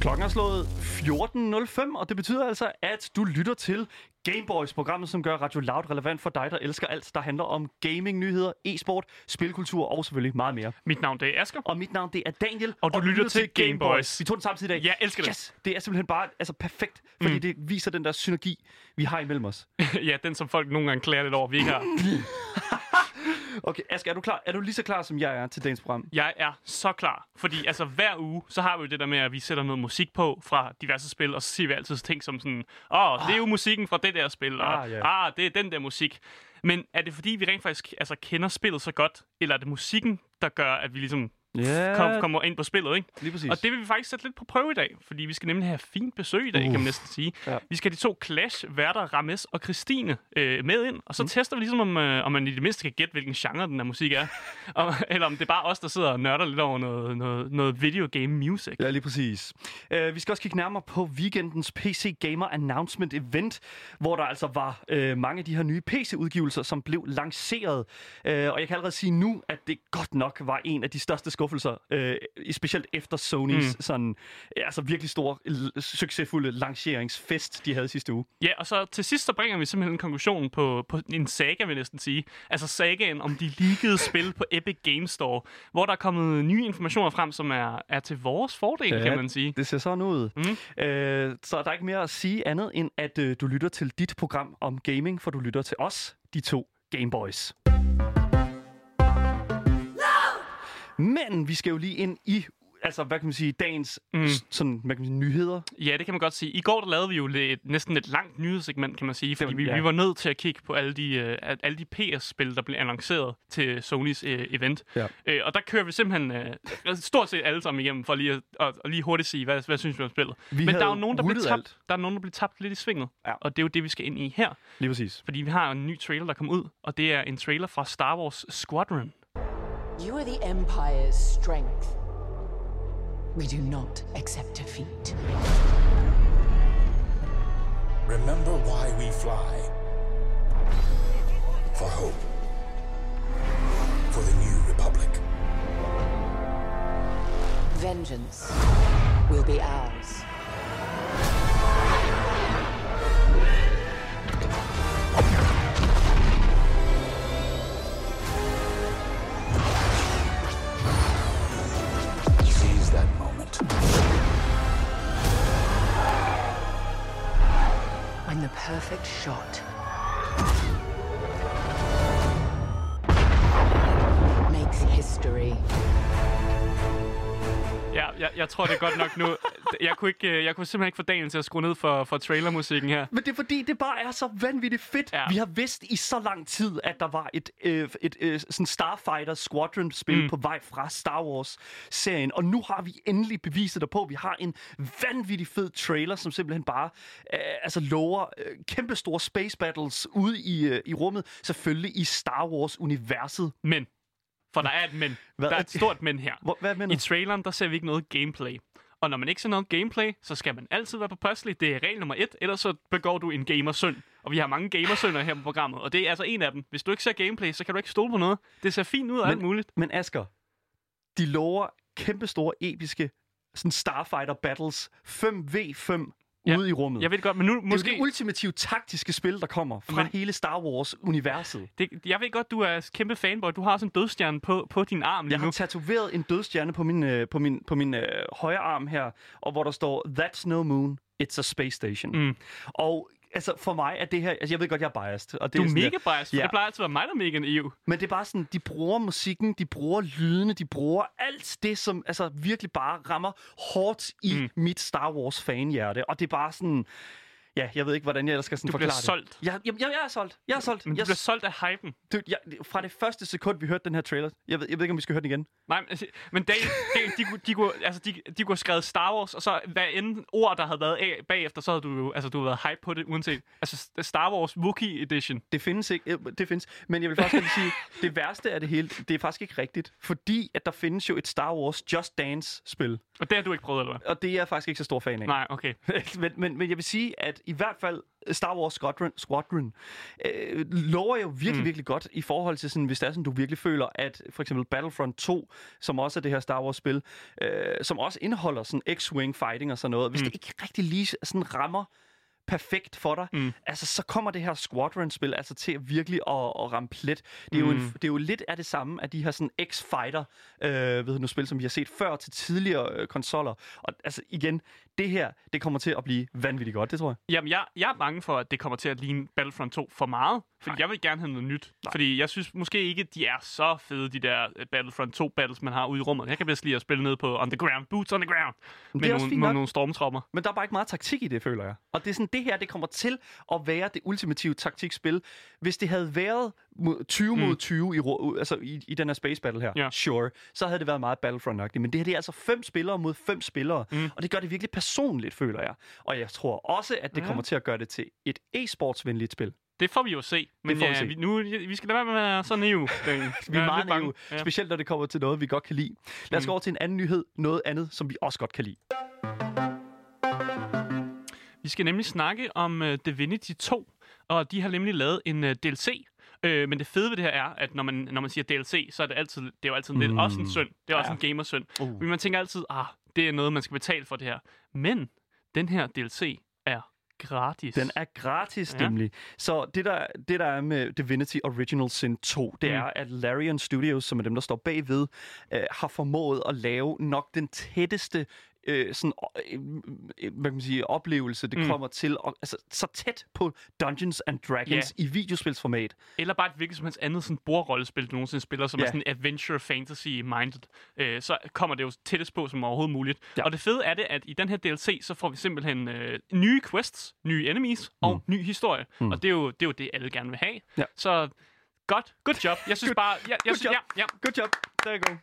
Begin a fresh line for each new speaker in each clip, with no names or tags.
Klokken er slået 14.05, og det betyder altså, at du lytter til Gameboys, programmet, som gør Radio Loud relevant for dig, der elsker alt, der handler om gaming, nyheder, e-sport, spilkultur og selvfølgelig meget mere.
Mit navn det er Asger.
Og mit navn, det er Daniel.
Og du lytter til Game Boys.
Vi tog den samtidig i dag.
Jeg elsker det.
Yes, det er simpelthen bare altså, perfekt, fordi
Mm.
det viser den der synergi, vi har imellem os.
ja, den som folk nogle gange klager lidt over, vi ikke har.
Okay, Aske, er du klar? Er du lige så klar, som jeg er til dagens program?
Jeg er så klar, fordi altså hver uge, så har vi jo det der med, at vi sætter noget musik på fra diverse spil, og så siger vi altid ting som sådan, åh, det er jo musikken fra det der spil, og
Ah,
ah,
ja.
ah det er den der musik. Men er det fordi, vi rent faktisk altså, kender spillet så godt, eller er det musikken, der gør, at vi ligesom
Ja,
kom, kommer ind på spillet, ikke?
lige præcis.
Og det vil vi faktisk sætte lidt på prøve i dag, fordi vi skal nemlig have fint besøg i dag, kan man næsten sige.
Ja.
Ja. Vi skal have de to Clash-værter, Rames og Christine, øh, med ind,
Mhm.
og så mm. tester vi ligesom, om, øh, om man i det mindste kan gætte, hvilken genre den her musik er. og, eller om det er bare os, der sidder og nørder lidt over noget, noget, noget videogame music.
Ja, lige præcis. Uh, vi skal også kigge nærmere på weekendens PC Gamer Announcement Event, hvor der altså var uh, mange af de her nye PC-udgivelser, som blev lanceret. Uh, og jeg kan allerede sige nu, at det godt nok var en af de største skuffelser, uh, specielt efter Sonys mm. sådan, ja, altså virkelig store, l- succesfulde lanceringsfest, de havde sidste uge.
Ja, og så til sidst, så bringer vi simpelthen konklusionen på, på en saga, vil jeg næsten sige. Altså sagaen om de leakede spil på Epic Games Store, hvor der er kommet nye informationer frem, som er, er til vores fordel,
Ja,
kan man sige.
Det ser sådan ud. Mm.
Mm.
Øh, så der er ikke mere at sige andet, end at øh, du lytter til dit program om gaming, for du lytter til os, de to Gameboys. Men vi skal jo lige ind i, altså hvad kan man sige, dagens mm.
Mm.
sådan, hvad kan man sige, nyheder.
Ja, det kan man godt sige. I går der lavede vi jo lidt, næsten et langt nyhedssegment, kan man sige, fordi
Det-
vi,
ja.
vi var nødt til at kigge på alle de, øh, at- alle de PS-spil, der blev annonceret til Sonys øh, event.
Ja.
Øh, og der kører vi simpelthen øh, stort set alle sammen igennem, for lige at og, og lige hurtigt sige, hvad, hvad synes vi om spillet.
Vi
Men der
havde
er jo nogen, der blev
rootet
tabt,
alt.
der er nogen, der blev tabt lidt i svinget,
Ja.
og det er jo det, vi skal ind i her.
Lige præcis.
Fordi vi har en ny trailer, der kom ud, og det er en trailer fra Star Wars Squadron.
You are the Empire's strength. We do not accept defeat.
Remember why we fly. For hope. For the new republic.
Vengeance will be ours.
Seize that moment.
I'm the perfect shot. Make the history.
Ja, jeg, jeg tror det er godt nok nu. Jeg kunne, ikke, øh, jeg kunne simpelthen ikke få Daniel til at skrue ned for, for trailermusikken her.
Men det er fordi, det bare er så vanvittigt fedt. Ja.
Ja.
Vi har vidst i så lang tid, at der var et, øh, et øh, sådan Starfighter Squadron-spil mm. på vej fra Star Wars-serien. Og nu har vi endelig beviset derpå. Vi har en vanvittig fed trailer, som simpelthen bare øh, altså lover øh, kæmpe store space battles ude i, øh, i rummet. Selvfølgelig i Star Wars-universet.
Men. For der er et men.
Hvad
Hvad der
er
er et
det?
stort men her.
Hvor- hvad er men'et?
I traileren, der ser vi ikke noget gameplay. Og når man ikke ser noget gameplay, så skal man altid være påpasselig. Det er regel nummer et, ellers så begår du en gamersynd. Og vi har mange gamersønder her på programmet, og det er altså en af dem. Hvis du ikke ser gameplay, så kan du ikke stole på noget. Det ser fint ud og alt muligt.
Men Asker, de lover kæmpe store, episke sådan Starfighter battles 5v5
Ja,
ude i rummet.
Jeg ved det godt, men nu
Måske... Det er jo
måske...
det ultimative taktiske spil, der kommer fra Men...
Men-
hele Star Wars-universet.
Det, jeg ved godt, du er kæmpe fanboy. Du har sådan en dødstjerne på, på din arm lige
Jeg
nu.
har tatoveret en dødstjerne på min, øh, på min, på min øh, højre arm her, og hvor der står, That's no moon, it's a space station. Mm. Og altså, for mig er det her... Altså, jeg ved godt, jeg er biased. Og det
Du er
sådan,
mega biased, for
Ja.
det plejer altid at være mig, der er mega naiv.
Men det er bare sådan, de bruger musikken, de bruger lydene, de bruger alt det, som altså, virkelig bare rammer hårdt i mm. mit Star Wars-fanhjerte. Og det er bare sådan... Ja, jeg ved ikke, hvordan jeg ellers skal sådan
Du
forklare
bliver
det.
solgt.
Jeg, jeg, jeg er solgt. Jeg er solgt.
Men du
jeg
bliver solgt af hypen.
Dude, jeg, fra det første sekund, vi hørte den her trailer, jeg ved, jeg ved ikke, om vi skal høre den igen.
Nej, men, altså, men Daniel, Daniel, de, kunne- de, kunne, altså, de, de kunne have skrevet Star Wars, og så hvad end ord, der havde været af bagefter, så havde du jo altså, du havde været hype på det, uanset. Altså Star Wars Wookiee Edition.
Det findes ikke, øh, det findes. Men jeg vil faktisk lige sige, det værste af det hele, det er faktisk ikke rigtigt. Fordi at der findes jo et Star Wars Just Dance-spil,
Og det har du ikke prøvet, eller hvad?
og det er jeg faktisk ikke så stor fan af.
Nej, okay.
men, men, men jeg vil sige, at i hvert fald øh, Star Wars Squadron, Squadron øh, lover jo virkelig, mm. virkelig godt i forhold til, sådan, hvis det er sådan, du virkelig føler, at for eksempel Battlefront 2, som også er det her Star Wars-spil, øh, som også indeholder sådan X-Wing fighting og sådan noget, hvis mm. det ikke rigtig lige sådan rammer perfekt for dig, mm. altså så kommer det her Squadron-spil altså til at virkelig at, at ramme plet. Det er, mm. jo en, det er jo lidt af det samme af de her sådan X-Fighter øh, ved du, nu, spil, som vi har set før til tidligere øh, konsoller. Og altså igen, det her, det kommer til at blive vanvittigt godt, det tror jeg.
Jamen, jeg, jeg er bange for, at det kommer til at ligne Battlefront 2 for meget. Fordi Nej. jeg vil gerne have noget nyt. Nej. Fordi jeg synes måske ikke, de er så fede, de der øh, Battlefront 2 battles, man har ude i rummet. Jeg kan bedst lide at spille ned på on the ground, boots on the ground, med
også
nogle,
fint
med
nok.
nogle stormtropper.
Men der er bare ikke meget taktik i det, føler jeg. Og det er sådan, det her, det kommer til at være det ultimative taktikspil. Hvis det havde været mod- 20 mod 20 i, ro- altså i, i den her space battle her,
Mm. Ja.
sure, så havde det været meget battlefront -agtigt. Men det her, det er altså fem spillere mod fem spillere. Mm. Og det gør det virkelig personligt, føler jeg. Og jeg tror også, at det kommer til at gøre det til et e-sportsvenligt spil.
Det får vi jo se. Men
får vi
ja,
se.
Vi, nu, vi skal lade være med at være så naive.
Vi er meget naive,
Ja. Mm.
specielt når det kommer til noget, vi godt kan lide. Lad os gå over til en anden nyhed, noget andet, som vi også godt kan lide.
Vi skal nemlig snakke om uh, Divinity 2, og de har nemlig lavet en uh, DLC. Øh, men det fede ved det her er, at når man, når man siger DLC, så er det, altid, det er jo altid
Mm.
lidt, også en synd. Det er også en gamersynd. Uh. Men man tænker altid, ah, det er noget, man skal betale for det her. Men den her DLC er gratis.
Den er gratis,
Ja.
ja. nemlig. Så det der, det, der er med Divinity Original Sin 2, det
Mm.
mm. er, at Larian Studios, som er dem, der står bagved, øh, har formået at lave nok den tætteste øh, sådan, øh, øh, hvad kan man sige, oplevelse, det mm. kommer til. Og, altså, så tæt på Dungeons and Dragons yeah. i videospilsformat.
Eller bare et hvilket som helst andet sådan bordrollespil, du nogensinde spiller, som yeah.
Ja.
er sådan adventure fantasy minded, øh, så kommer det jo tættest på som overhovedet muligt.
Ja.
Og det fede er det, at i den her DLC, så får vi simpelthen øh, nye quests, nye enemies og ny historie. Mm. Og det er, jo, det er jo det, alle gerne vil have.
Ja.
Så godt, good job. Jeg synes
Good-
bare, jeg, jeg
good
synes,
job.
ja, ja,
Good job. There you go.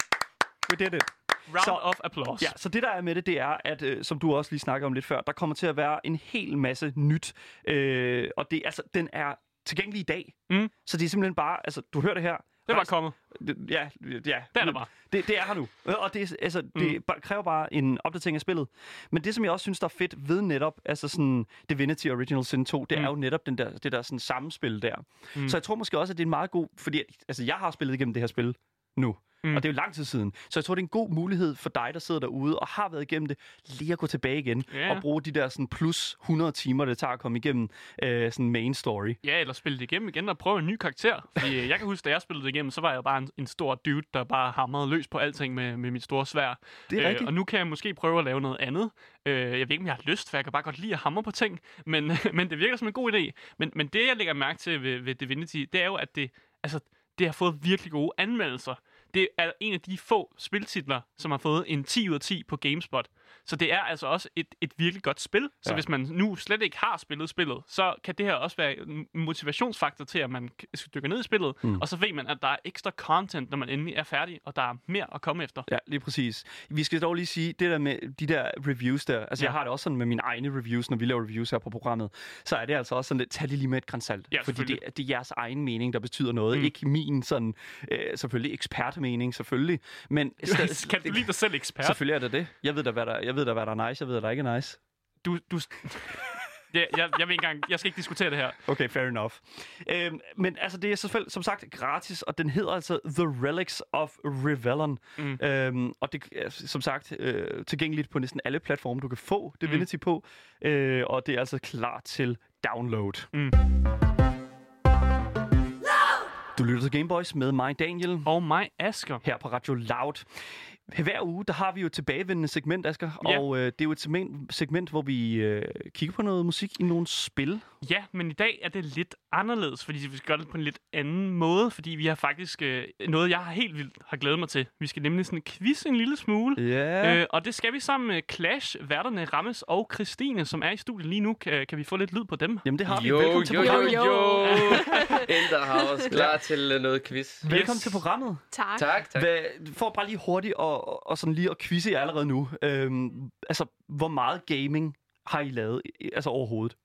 We did it.
round
Så-
of applause.
Ja, så det der er med det, det er, at øh, som du også lige snakkede om lidt før, der kommer til at være en hel masse nyt. Øh, og det, altså, den er tilgængelig i dag.
Mm.
Så det er simpelthen bare, altså, du hører det her.
Det var
Rejs-
kommet.
Det- Ja, ja.
Det er der bare.
Det, det er her nu. Og det, er- altså, det mm. kræver bare en opdatering af spillet. Men det, som jeg også synes, der er fedt ved netop altså sådan Divinity Original Sin 2, det mm. er jo netop den der, det der sådan samspil der. Mm. Så jeg tror måske også, at det er en meget god... Fordi altså, jeg har spillet igennem det her spil nu. Mm. Og det er jo lang tid siden. Så jeg tror, det er en god mulighed for dig, der sidder derude og har været igennem det, lige at gå tilbage igen
Ja.
og bruge de der sådan, plus 100 timer, det tager at komme igennem øh, sådan main story.
Ja, eller spille det igennem igen og prøve en ny karakter. Fordi øh, jeg kan huske, da jeg spillede det igennem, så var jeg bare en, en stor dude, der bare hamrede løs på alting med, med mit store svær. Øh,
Det er rigtigt.
Og nu kan jeg måske prøve at lave noget andet. Øh, jeg ved ikke, om jeg har lyst, for jeg kan bare godt lide at hamre på ting. Men, men det virker som en god idé. Men, men det, jeg lægger mærke til ved, ved Divinity, det er jo, at det, altså, det har fået virkelig gode anmeldelser. Det er en af de få spiltitler, som har fået en 10 ud af 10 på GameSpot. Så det er altså også et, et virkelig godt spil. Så
Ja.
hvis man nu slet ikke har spillet spillet, så kan det her også være en motivationsfaktor til, at man k- dykker ned i spillet. Mm. Og så ved man, at der er ekstra content, når man endelig er færdig, og der er mere at komme efter.
Ja, lige præcis. Vi skal dog lige sige, det der med de der reviews der, altså
Ja.
ja. jeg har det også sådan med mine egne reviews, når vi laver reviews her på programmet, så er det altså også sådan lidt, tag det lige med et grænsalt.
Ja,
fordi det,
selvfølgelig.
det er jeres egen mening, der betyder noget. Mm. Ikke min sådan, øh, selvfølgelig ekspertmening, selvfølgelig. Men stadig-
kan du lide dig selv ekspert?
Selvfølgelig er det det. Jeg ved da, hvad der, jeg ved da, hvad der er nice, jeg ved, hvad der ikke er nice.
Du, du... Ja, jeg, jeg, vil ikke engang, jeg skal ikke diskutere det her.
Okay, fair enough. Øhm, men altså, det er selvfølgelig, som sagt gratis, og den hedder altså The Relics of Revelon. Mm. Øhm, og det er som sagt øh, tilgængeligt på næsten alle platforme, du kan få Divinity mm. på. Øh, og det er altså klar til download. Mm. Du lytter til Gameboys med mig, Daniel
Og mig, Asker.
her på Radio Loud. Hver uge, der har vi jo et tilbagevendende segment, Asger,
Ja.
og øh, det er jo et segment, segment hvor vi øh, kigger på noget musik i nogle spil.
Ja, men i dag er det lidt anderledes, fordi vi skal gøre det på en lidt anden måde, fordi vi har faktisk øh, noget, jeg har helt vildt har glædet mig til. Vi skal nemlig sådan quizze en lille smule.
Ja.
Øh, og det skal vi sammen med Clash, værterne Rammes og Christine, som er i studiet lige nu. Kan, kan vi få lidt lyd på dem?
Jamen det har
Jo,
vi. Velkommen til
jo, jo,
programmet.
jo. In the house. Klar til øh, noget quiz.
Velkommen
Yes.
til programmet.
Tak.
Tak, tak.
Hvad, for bare lige hurtigt og, og sådan lige at quizze jer allerede nu. Øhm, altså, hvor meget gaming har I lavet i- altså overhovedet?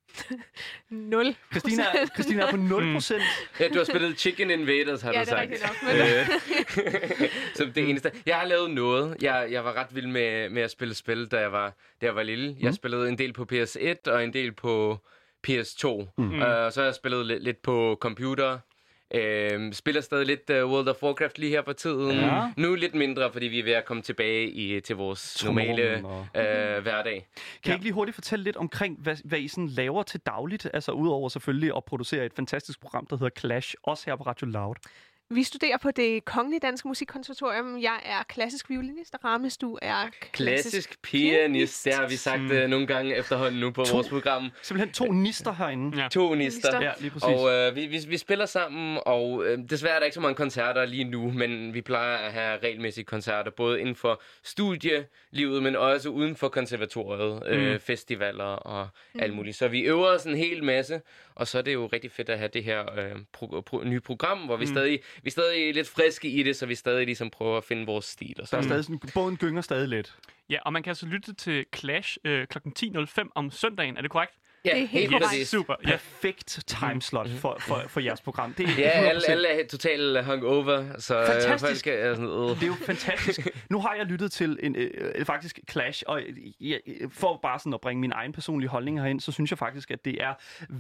Nul.
Christina, er- Christina er på 0%.
Ja, du har spillet Chicken Invaders, har du
Ja, det er
sagt.
rigtigt nok, men-
Øh, Som det eneste. Jeg har lavet noget. Jeg, jeg var ret vild med, med at spille spil, da jeg var, da jeg var lille. Jeg spillede en del på PS1 og en del på PS2. Mm. Øh, så har jeg spillet lidt, lidt på computer. Øh, spiller stadig lidt uh, World of Warcraft lige her for tiden.
Ja.
Nu lidt mindre, fordi vi er ved at komme tilbage i, til vores
Trummen
normale
og-
øh, hverdag.
Kan I ikke lige hurtigt fortælle lidt omkring, hvad, hvad I sådan laver til dagligt? Altså udover selvfølgelig at producere et fantastisk program, der hedder Clash, også her på Radio Loud.
Vi studerer på det Kongelige Danske Musikkonservatorium. Jeg er klassisk violinist, og Rames, du er klassisk,
Klassisk pianist, det har vi sagt øh, nogle gange efterhånden nu på vores program.
Simpelthen to nister herinde.
Ja.
To nister.
Ja, lige præcis.
Og øh, vi, vi, vi spiller sammen, og øh, desværre er der ikke så mange koncerter lige nu, men vi plejer at have regelmæssige koncerter, både inden for studielivet, men også uden for konservatoriet, øh, festivaler og
Mm.
alt muligt. Så vi øver os en hel masse, og så er det jo rigtig fedt at have det her øh, pro, pro, nye program, hvor vi, stadig, vi er stadig lidt friske i det, så vi stadig ligesom prøver at finde vores stil. Og
Der er
sådan.
stadig sådan, båden gynger stadig lidt.
Ja, og man kan altså lytte til Clash øh, kl. 10.05 om søndagen. Er det korrekt?
Ja,
Det er helt
Yes,
korrekt.
super. Ja.
Perfekt timeslot for, for, for jeres program. Det er
Mm. Ja, alle,
100%.
alle er totalt hungover, så øh,
Fantastisk.
folk er sådan, øh.
Det er jo fantastisk. Nu har jeg lyttet til en, øh, øh, faktisk Clash, og jeg, øh, for bare sådan at bringe min egen personlige holdning herind, så synes jeg faktisk, at det er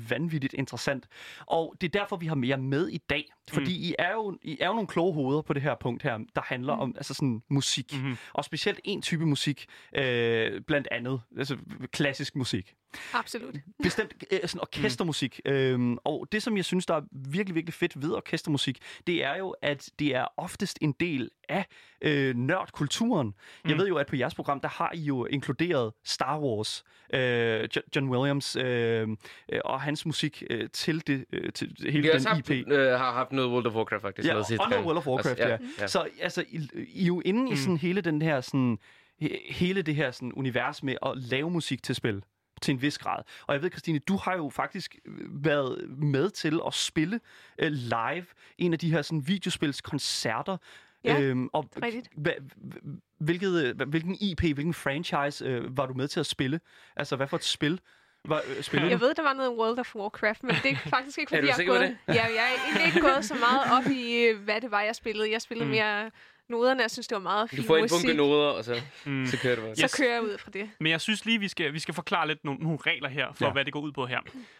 vanvittigt interessant. Og det er derfor, vi har mere med i dag. Fordi mm. I, er jo, I er jo nogle kloge hoveder på det her punkt her, der handler mm. om altså sådan musik. Mm. Og specielt en type musik, øh, blandt andet altså, klassisk musik
Absolut.
bestemt øh, sådan orkestermusik. Mm. Øhm, og det, som jeg synes, der er virkelig, virkelig fedt ved orkestermusik, det er jo, at det er oftest en del af øh, nørdkulturen. Mm. Jeg ved jo, at på jeres program, der har I jo inkluderet Star Wars, øh, Jo- John Williams øh, øh, og hans musik øh, til, det, øh, til hele
Vi har, også
den
haft,
IP.
øh, har haft noget World of Warcraft faktisk.
Ja,
noget Altså, sidste
og noget
gang.
World of Warcraft,
Også-
ja. ja. Så altså, I, I er jo inde i sådan hele den her sådan, he- hele det her sådan, univers med at lave musik til spil til en vis grad. Og jeg ved, Christine, du har jo faktisk øh, været med til at spille øh, live en af de her sådan, videospilskoncerter.
Ja,
øhm, og
rigtigt.
hva, hvilket, øh, hva- hvilken IP, hvilken franchise øh, var du med til at spille? Altså, hvad for et spil var, øh, spillede
Jeg ved, der var noget World of Warcraft, men det er faktisk ikke,
Er
fordi
du
jeg
sikker på
gået... Ja, jeg er egentlig ikke gået så meget op i, øh, hvad det var, jeg spillede. Jeg spillede mm. mere noderne, og jeg synes, det var meget fint
Du får en
musik.
bunke noder, og så, mm. så kører det bare.
Så
Yes.
Yes.
kører jeg ud fra det.
Men jeg synes lige, vi skal, vi skal forklare lidt nogle, nogle regler her, for
Ja.
ja. hvad det går ud på her.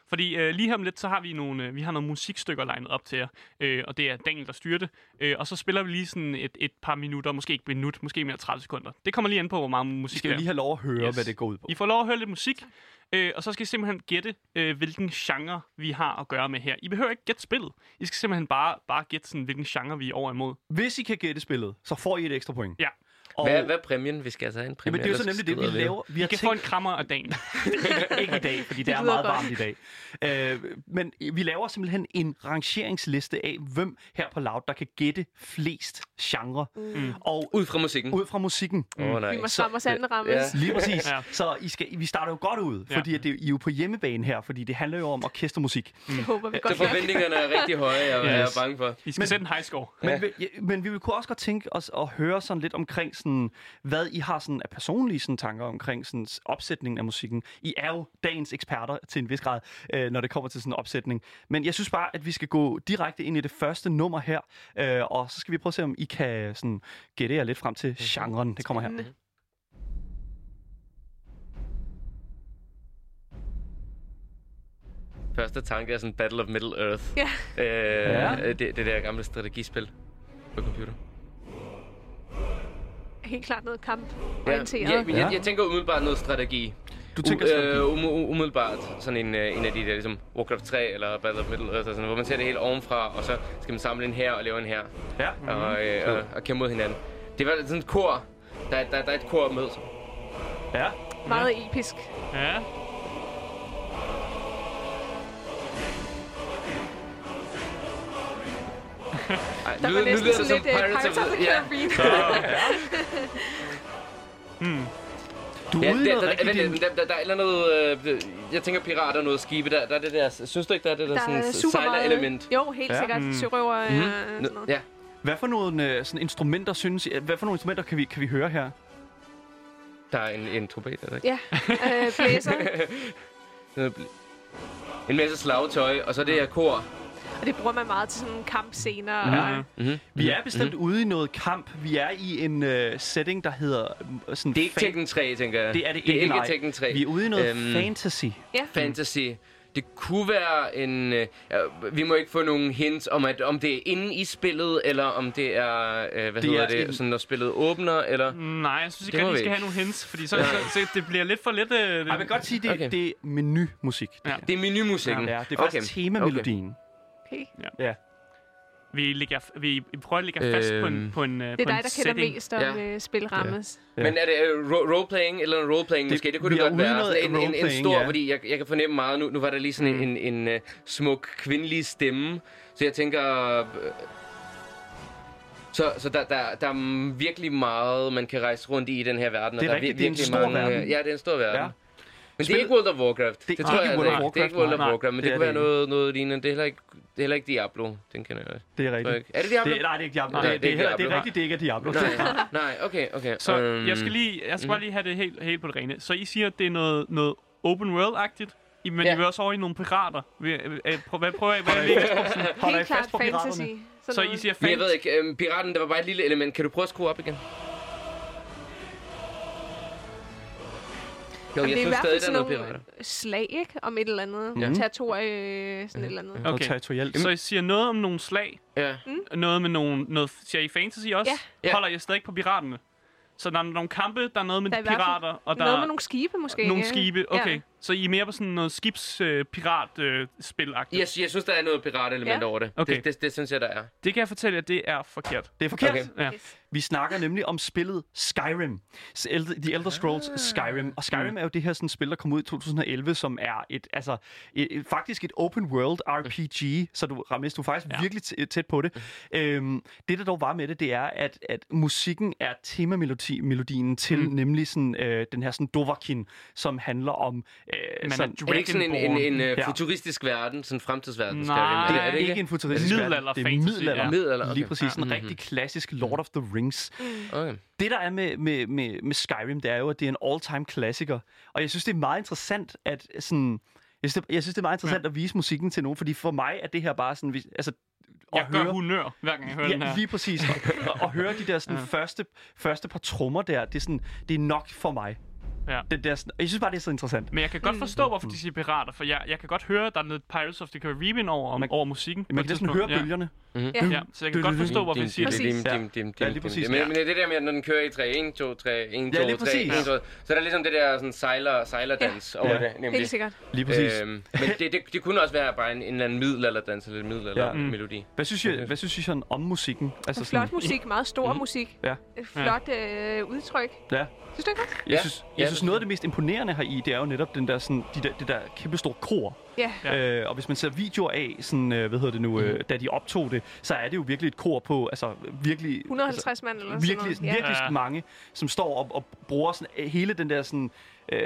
Fordi øh, lige her om lidt, så har vi nogle, øh, vi har nogle musikstykker legnet op til jer, øh, og det er Daniel, der styrer det. Øh, og så spiller vi lige sådan et, et par minutter, måske ikke et minut, måske mere 30 sekunder. Det kommer lige an på, hvor meget musik
Skal
det
jeg
er.
lige have lov at høre, yes.
Yes.
hvad det går ud på?
I får lov at høre lidt musik, øh, og så skal I simpelthen gætte, øh, hvilken genre vi har at gøre med her. I behøver ikke gætte spillet. I skal simpelthen bare, bare gætte, sådan, hvilken genre vi er over imod.
Hvis I kan gætte spillet, så får I et ekstra point.
Ja.
Og,
Hvad, hvad er præmien? Vi skal altså have en præmie.
Jamen, det er jo så nemlig
ellers
det, vi
skrider
laver. Vi har
I kan få en krammer af dagen.
tænkt ikke i dag, fordi det, er
lyder
meget varmt
godt.
i dag. Øh, men vi laver simpelthen en rangeringsliste af, hvem her på Loud, der kan gætte flest genre. Mm. Og
Ud fra musikken.
ud fra musikken.
Åh, oh,
Vi må
nice.
stramme os andet rammes.
Ja.
Lige præcis. ja.
Ja.
Så I skal, vi starter jo godt ud,
Ja.
fordi at det, I er jo på hjemmebane her, fordi det handler jo om orkestermusik.
Det håber vi
Så
godt nok.
forventningerne er rigtig høje, og jeg
Yes.
er bange for.
I skal men, sætte en high score.
Men, vi, ja, men vi vil kunne også godt tænke os at høre sådan lidt omkring, sådan, hvad I har sådan af personlige sådan, tanker omkring sådan, s- opsætningen af musikken. I er jo dagens eksperter til en vis grad, øh, når det kommer til sådan en opsætning. Men jeg synes bare, at vi skal gå direkte ind i det første nummer her, øh, og så skal vi prøve at se, om I kan sådan, gætte jer lidt frem til genren. Det kommer her.
Første tanke er sådan Battle of Middle Earth.
Ja.
Øh,
Ja.
ja. det, det der gamle strategispil på computer.
Helt klart noget
Ja,
kamp-orienteret.
ja, men jeg, jeg tænker umiddelbart noget strategi.
Du tænker
U-
sådan,
øh, um, um- umiddelbart sådan en, øh, en af de der ligesom Warcraft 3 eller Battle of Middle Earth, og sådan, hvor man ser det helt ovenfra, og så skal man samle en her og lave en her.
ja. Mhm.
og, øh, og, og kæmpe mod hinanden. Det var sådan et kor. Der, er- der, der er et kor med.
ja.
Meget episk.
Ja.
Ej,
Der var næsten sådan lidt øh, Pirates of the
ja.
Caribbean.
Du
Ja,
er ude i
der,
noget
der,
rigtigt.
der,
din-
der, der, der er et eller andet, øh, jeg tænker pirater og noget skibe, der, der er det der, synes du ikke, der er det der,
Der er
sådan
super meget.
element? Mm-hmm.
Jo, helt
Ja.
sikkert.
Mm.
Sørøver og sådan noget.
Ja,
Hvad for nogle øh, sådan instrumenter synes I, hvad for nogle instrumenter kan vi, kan vi høre her?
der er en, en trompet, er der ikke?
Ja, øh, blæser.
Noget bl- En masse slagtøj, og så det her kor.
Og det bruger man meget til sådan kampscener.
Ja.
Og,
Vi er bestemt mm-hmm. ude i noget kamp. Vi er i en øh, setting, der hedder... Øh, sådan
Det er ikke
fan-
Tekken 3, tænker jeg.
Det er det
det er
ikke,
ikke
nej.
Tekken 3.
Vi er ude i noget
Øhm,
fantasy.
ja.
Fantasy. Det kunne være en... Øh, ja, vi må ikke få nogen hints om, at, om det er inde i spillet, eller om det er... Øh, hvad
Det
det hedder
er
det?
en- Mm.
Sådan, når spillet åbner, eller...
Nej, jeg synes ikke,
Det må
at vi
vi
skal have
ikke.
nogle hints, fordi så, så, så det bliver lidt for lidt... Øh, det,
Jeg vil godt sige, det, okay.
Okay.
det er menumusik. Det,
Ja.
ja.
Det er menumusikken.
Ja, det er faktisk okay. temamelodien. Okay.
Okay.
Ja.
vi, ligger, vi prøver at ligge fast på en,
Øhm,
på en, øh,
Det er
på
dig,
en
der kender
setting.
mest om øh,
Ja.
ja. spilrammes.
Ja. Men er det øh, ro- roleplaying eller en roleplaying måske? Det kunne
vi
det
er
godt
ude i
være.
noget
Sådan en, en, en
roleplaying,
stor,
ja. Mm.
ja. fordi jeg, jeg kan fornemme meget. Nu, nu var der lige sådan en, en, en øh, smuk kvindelig stemme. Så jeg tænker... Øh, så så der, der, der er virkelig meget, man kan rejse rundt i i den her verden.
Det er
og
rigtigt,
vir-
det er en
virkelig
stor verden.
øh, Ja, det er en stor verden.
Ja.
Ja. Men det er ikke World of Warcraft.
Det er
Det, tror
ikke
jeg
World of
altså ikke. Det er ikke
Warcraft,
World of
nej.
Warcraft,
Det
men det,
er
kunne være
det
noget, noget lignende. Det er heller ikke, det er heller ikke Diablo. Den kender jeg ikke.
Det er
Tror jeg
rigtigt.
ikke. Er det Diablo?
Det, nej, det er ikke Diablo.
Nej,
det,
det
det, det,
er
er
ikke
heller- det er
Diablo.
rigtigt, det ikke er Diablo.
Nej, nej, okay, okay.
Så
Øhm,
jeg skal lige, jeg skal bare lige have det helt, helt på det rene. Så I siger, at det er noget, noget open world-agtigt, I- men
Ja.
I vil også over i nogle pirater. Vi- øh, øh, prøv- Hvad prøver I? Hvad er det?
Holder I
Helt klart
fast på
fantasy.
piraterne?
Sådan
Så I
noget.
siger
Men jeg ved
fantasy.
ikke, øhm, piraten, der var bare et lille element. Kan du prøve at skrue op igen? Jo, jeg
det er i
synes stadig,
hvert fald
der er
sådan
noget
nogle
pirater.
slag, ikke? Om et eller andet.
Ja.
Ja. Territorie, sådan et eller andet.
Noget
Okay.
territorielt.
Så I siger noget om nogle slag,
Ja.
noget med nogle, noget, siger I fantasy også?
Ja.
Ja.
Holder I stadig på piraterne? Så der er nogle kampe, der er noget med
Der er
der
i hvert fald
pirater, og der
Noget med
er
nogle skibe, måske.
nogle
ja.
skibe. Okay,
Ja.
så I er mere på sådan noget øh, skibspirat-spil øh,
Jeg, jeg synes, der er noget piratelement
Ja.
over det.
Okay.
Det, det, det synes jeg, der er.
Det kan jeg fortælle jer, det er forkert.
Det er forkert.
Okay.
Ja.
Yes.
Vi snakker nemlig om spillet Skyrim. S- Eld- The Elder Scrolls Skyrim. Og Skyrim er jo det her sådan, spil, der kom ud i 2011, som er et, altså, et, et, faktisk et open world RPG, så du, Ramis, du er faktisk ja. virkelig tæ- tæt på det. Øhm, det, der dog var med det, det er, at, at musikken er temamelodien til mm. nemlig sådan, øh, den her sådan Dovahkiin, som handler om... Øh,
Man er
sådan,
Er det ikke sådan en, en, øh, en, en
Ja.
ja. futuristisk verden? Sådan en fremtidsverden?
Nej.
Skyrim?
det
Er
er,
det, er det ikke?
en futuristisk verden.
Middelalder
Det er
fantasy,
middelalder.
ja.
Middelalder, okay.
Lige præcis.
Ja.
Sådan en rigtig klassisk Lord of the Rings.
Okay.
Det, der er med, med, med, med Skyrim, det er jo, at det er en all-time klassiker. Og jeg synes, det er meget interessant, at sådan... Jeg synes, det, jeg synes, det er meget interessant ja. at vise musikken til nogen, fordi for mig er det her bare sådan... hvis- Altså, at
Jeg gør hunør, hver gang jeg hører den
Ja,
her.
lige præcis. Og, og, og høre de der sådan, ja. første, første par trommer der, det er, sådan, det er nok for mig.
Ja.
Det der, sådan, jeg synes bare, det er så interessant.
Men jeg kan godt forstå, hvorfor de siger pirater, for jeg, jeg kan godt høre, at der er noget Pirates of the Caribbean over, om,
Man-
over musikken. på
Man
et
kan næsten høre
tidspunkt. ja.
bølgerne.
Ja, så jeg kan godt forstå, hvorfor de siger det.
Præcis.
Dim, dim, dim, dim,
Ja, lige
dim,
præcis.
dim. Men, men det er det der med, at når den kører i 3, 1, 2, 3, 1,
Ja,
2, 3,
lige
1, 2,
præcis.
så er der ligesom det der sådan sejler, sejlerdans over
Ja.
det. Nemlig.
Helt sikkert.
Lige
Øhm, men det, det, det kunne også være bare en, en eller anden middelalderdans eller en middelaldermelodi. Ja.
Hvad synes I, hvad synes I sådan om musikken? Altså,
Flot musik, meget stor
Mm-hmm.
musik.
Ja.
Et Flot øh, udtryk.
Ja.
Synes du ikke godt?
Jeg
Ja.
synes, jeg
Ja,
synes
det-
noget af det mest imponerende her i, det er jo netop den der, sådan, de der, det der kæmpe store kor.
Ja.
Ja. Øh, og hvis man ser videoer af, sådan, øh, hvad hedder det nu, øh, da de optog det, så er det jo virkelig et kor på, altså virkelig...
150 mand eller
altså, virkelig,
sådan noget.
virkelig
Ja.
mange, som står og, og bruger sådan, øh, hele den der sådan, øh,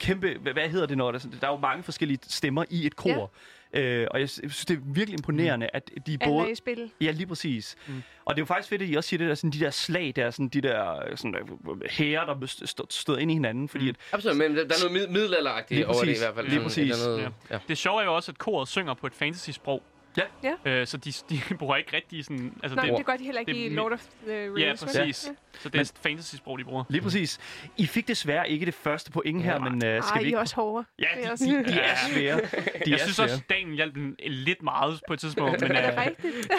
kæmpe... Hvad, hvad hedder det, når der, sådan, der er jo mange forskellige stemmer i et kor. Ja. Øh, og jeg sy- synes, det er virkelig imponerende, at de
Ja.
både...
Alle er i spil.
Ja, lige præcis. Mm. Og det er jo faktisk fedt, at I også siger det der, sådan, de der slag, der, sådan, de der øh, sådan, øh, hære, der støder stød støder ind i hinanden, fordi mm. at,
Absolut, men der der er noget mid- middelalderagtigt
Lige
over det i
præcis.
hvert fald.
Lige
Sådan et
præcis.
eller
Ja.
andet- Ja.
Det sjove er jo også, at koret synger på et fantasy-sprog.
Ja.
Ja.
Øh, så de, de bruger ikke rigtig sådan... Altså
Nej,
det,
det gør de heller ikke
det er
i
mi-
Lord of the Rings.
ja,
vel?
præcis. Så det er et fantasy-sprog, de bruger.
Lige præcis. I fik desværre ikke det første point her, men øh, skal
Ej,
vi
I er
ikke...
også hårdere.
Ja,
vil
de,
jeg
de,
sige.
de er svære. De
Jeg
er
synes
svære.
også, Daniel hjalp den lidt meget på et tidspunkt, men
Er det
øh,
rigtigt?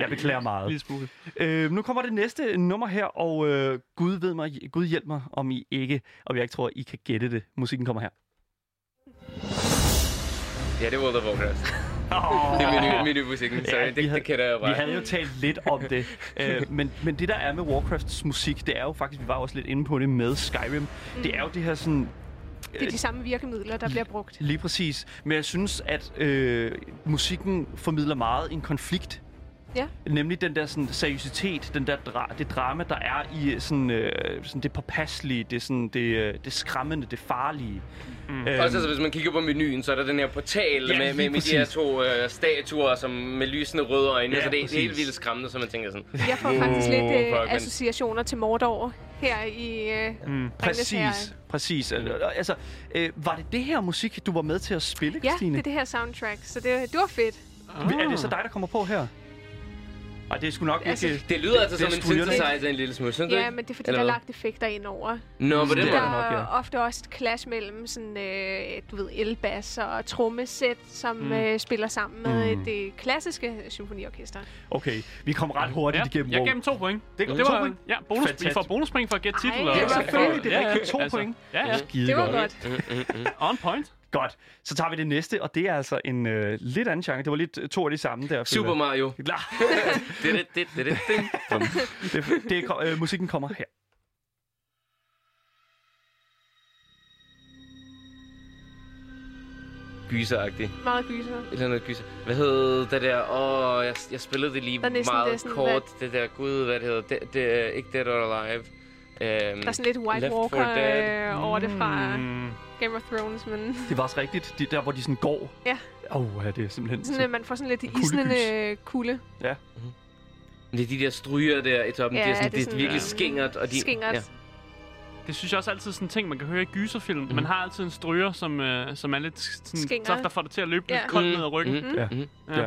Jeg beklager
lige
meget.
smule.
Øh, nu kommer det næste nummer her, og øh, Gud ved mig, Gud hjælp mig, om I ikke, og jeg ikke tror, I kan gætte det. Musikken kommer her.
ja, det er World of Warcraft. Det er menu, menumusikken, så
Ja,
det,
vi havde-
det kender jeg jo
Vi
bare.
havde jo talt lidt om det, øh, men, men det der er med Warcrafts musik, det er jo faktisk, vi var også lidt inde på det med Skyrim, det er jo det her sådan
Det er de samme virkemidler, der bliver brugt.
Lige præcis. Men jeg synes, at øh, musikken formidler meget en konflikt.
Ja.
Nemlig den der sådan, seriøsitet, den der dra- det drama, der er i sådan, øh, sådan det påpasselige, det, sådan, det, øh, det skræmmende, det farlige. Mm. Øhm,
Også altså, hvis man kigger på menuen, så er der den her portal
Ja,
ja, med,
lige
med, med de her
præcis.
to øh, statuer som med lysende røde øjne,
Ja,
så det, det er
præcis.
helt vildt skræmmende, så man tænker sådan.
Jeg får faktisk
Wow,
lidt øh,
fuck, men-
associationer til Mordor her i øh, mm.
præcis, præcis. Øh, Altså, øh, var det det her musik, du var med til at spille,
Ja,
Christine?
det Ah. er det her soundtrack, så det, det var fedt.
det. Er det så dig, der kommer på her? Ej, det er sgu nok
Altså,
ikke...
Det lyder altså
det
som en
skulle jeg da.
synthesizer en lille smule, synes du
Ja,
ikke?
men det er fordi,
Eller
der er
hvad?
lagt effekter ind over.
Nå, på
Det
den
Det
er
der
måde.
der nok,
er
ja.
ofte også et clash mellem sådan, øh, du ved, elbass og trommesæt, som mm. øh, spiller sammen med mm. det klassiske symfoniorkester.
Okay, vi kom ret hurtigt igennem.
jeg
WoW.
gav dem to point.
Det-
det
to
var,
point?
Ja, bonus, vi
Fantastisk.
får bonuspoint for at altså. gætte
Ej,
titler.
det
Ja,
er
og-
selvfølgelig. Det er
Ja, ja,
rigtigt. To
altså,
point.
Ja, ja.
Det var
Skidegodt.
godt.
On point.
Godt. Så tager vi det næste, og det er altså en øh, lidt anden genre. Det var lidt øh, to af de samme der.
Super Mario.
føler jeg.
Det, det, det, det, det, det.
det, det kom, øh, musikken kommer her.
Gyseragtigt.
Meget gyser.
Et eller andet gyser. Hvad hed det der? Åh, oh, jeg, jeg spillede det lige
Der er næsten- det er
meget
sådan,
kort. Det der, gud, hvad det hedder. Det, det er ikke Dead or Alive. Øhm,
Der er sådan lidt White
Left 4
Walker
Dead.
øh, over det fra
Mm.
Game of Thrones, men
Det var også rigtigt. Det, der, hvor de sådan går.
Ja.
Åh, oh, ja, det er simpelthen...
sådan, at man får sådan lidt
Kuldegys.
isnende øh, kulde.
det er de der stryger der i toppen. Ja, det er, sådan, det er
sådan,
virkelig
ja.
skingert. Og de,
Skingert.
Ja.
Det synes jeg også altid er sådan en ting, man kan høre i gyserfilm. Mm. Man har altid en stryger, som, øh, som er lidt sådan,
Skinger.
tof, der får det til at løbe
Ja.
lidt koldt ned ad ryggen.
Mm. Mm.
Ja.
Mm.
Ja.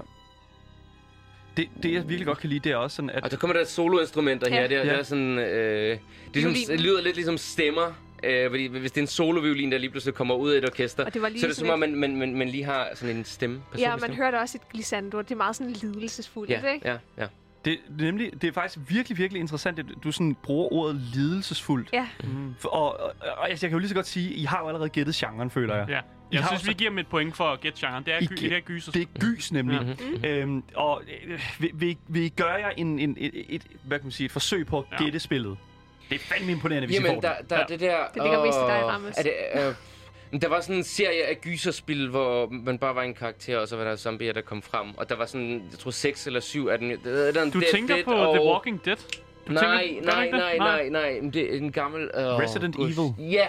Det, det, jeg virkelig godt kan lide, det er også sådan, at...
Og der kommer der soloinstrumenter her.
Ja.
Det, er,
Ja.
det er sådan... Øh, det, er sådan
Violinen.
det lyder lidt ligesom stemmer. Øh, fordi hvis det er en soloviolin, der lige pludselig kommer ud af et orkester,
Og det var lige
så er det som
sådan
om, man, man, man, man lige har sådan en stemme.
Ja,
personlig
man
stemme.
hørte også et glissando. Det er meget sådan lidelsesfuldt,
Ja,
ikke?
ja, ja.
Det, det er nemlig, det er faktisk virkelig, virkelig interessant, at du sådan bruger ordet lidelsesfuldt.
Ja.
Mm. For, og, og, og altså, jeg kan jo lige så godt sige, I har jo allerede gættet genren, føler jeg.
Ja.
I
Jeg
har
synes,
også-
vi giver dem et point for at gætte genren. Det er,
I
gy-
gi-
det er gyser.
Det er gys nemlig.
Mm-hmm.
Mm-hmm.
Mm. Øhm, og øh, vil, vil, vil I gøre jer en, en, et, et, hvad kan man sige, et forsøg på at
Ja.
gætte spillet? Det er fandme imponerende, hvis I får
Jamen,
det.
der, der ja.
Ja.
er det der...
Det ligger mest i dig,
åh,
Rammes.
Er det, øh, men der var sådan en serie af gyserspil, hvor man bare var en karakter, og så var der zombier, der kom frem. Og der var sådan, jeg tror, seks eller syv af dem. Du
Du tænker på The Walking Dead? Du
Nej,
tænker, gør du
nej,
ikke det?
nej, nej, nej. Men Det er en gammel... Oh,
Resident Evil. Mm.
Ja,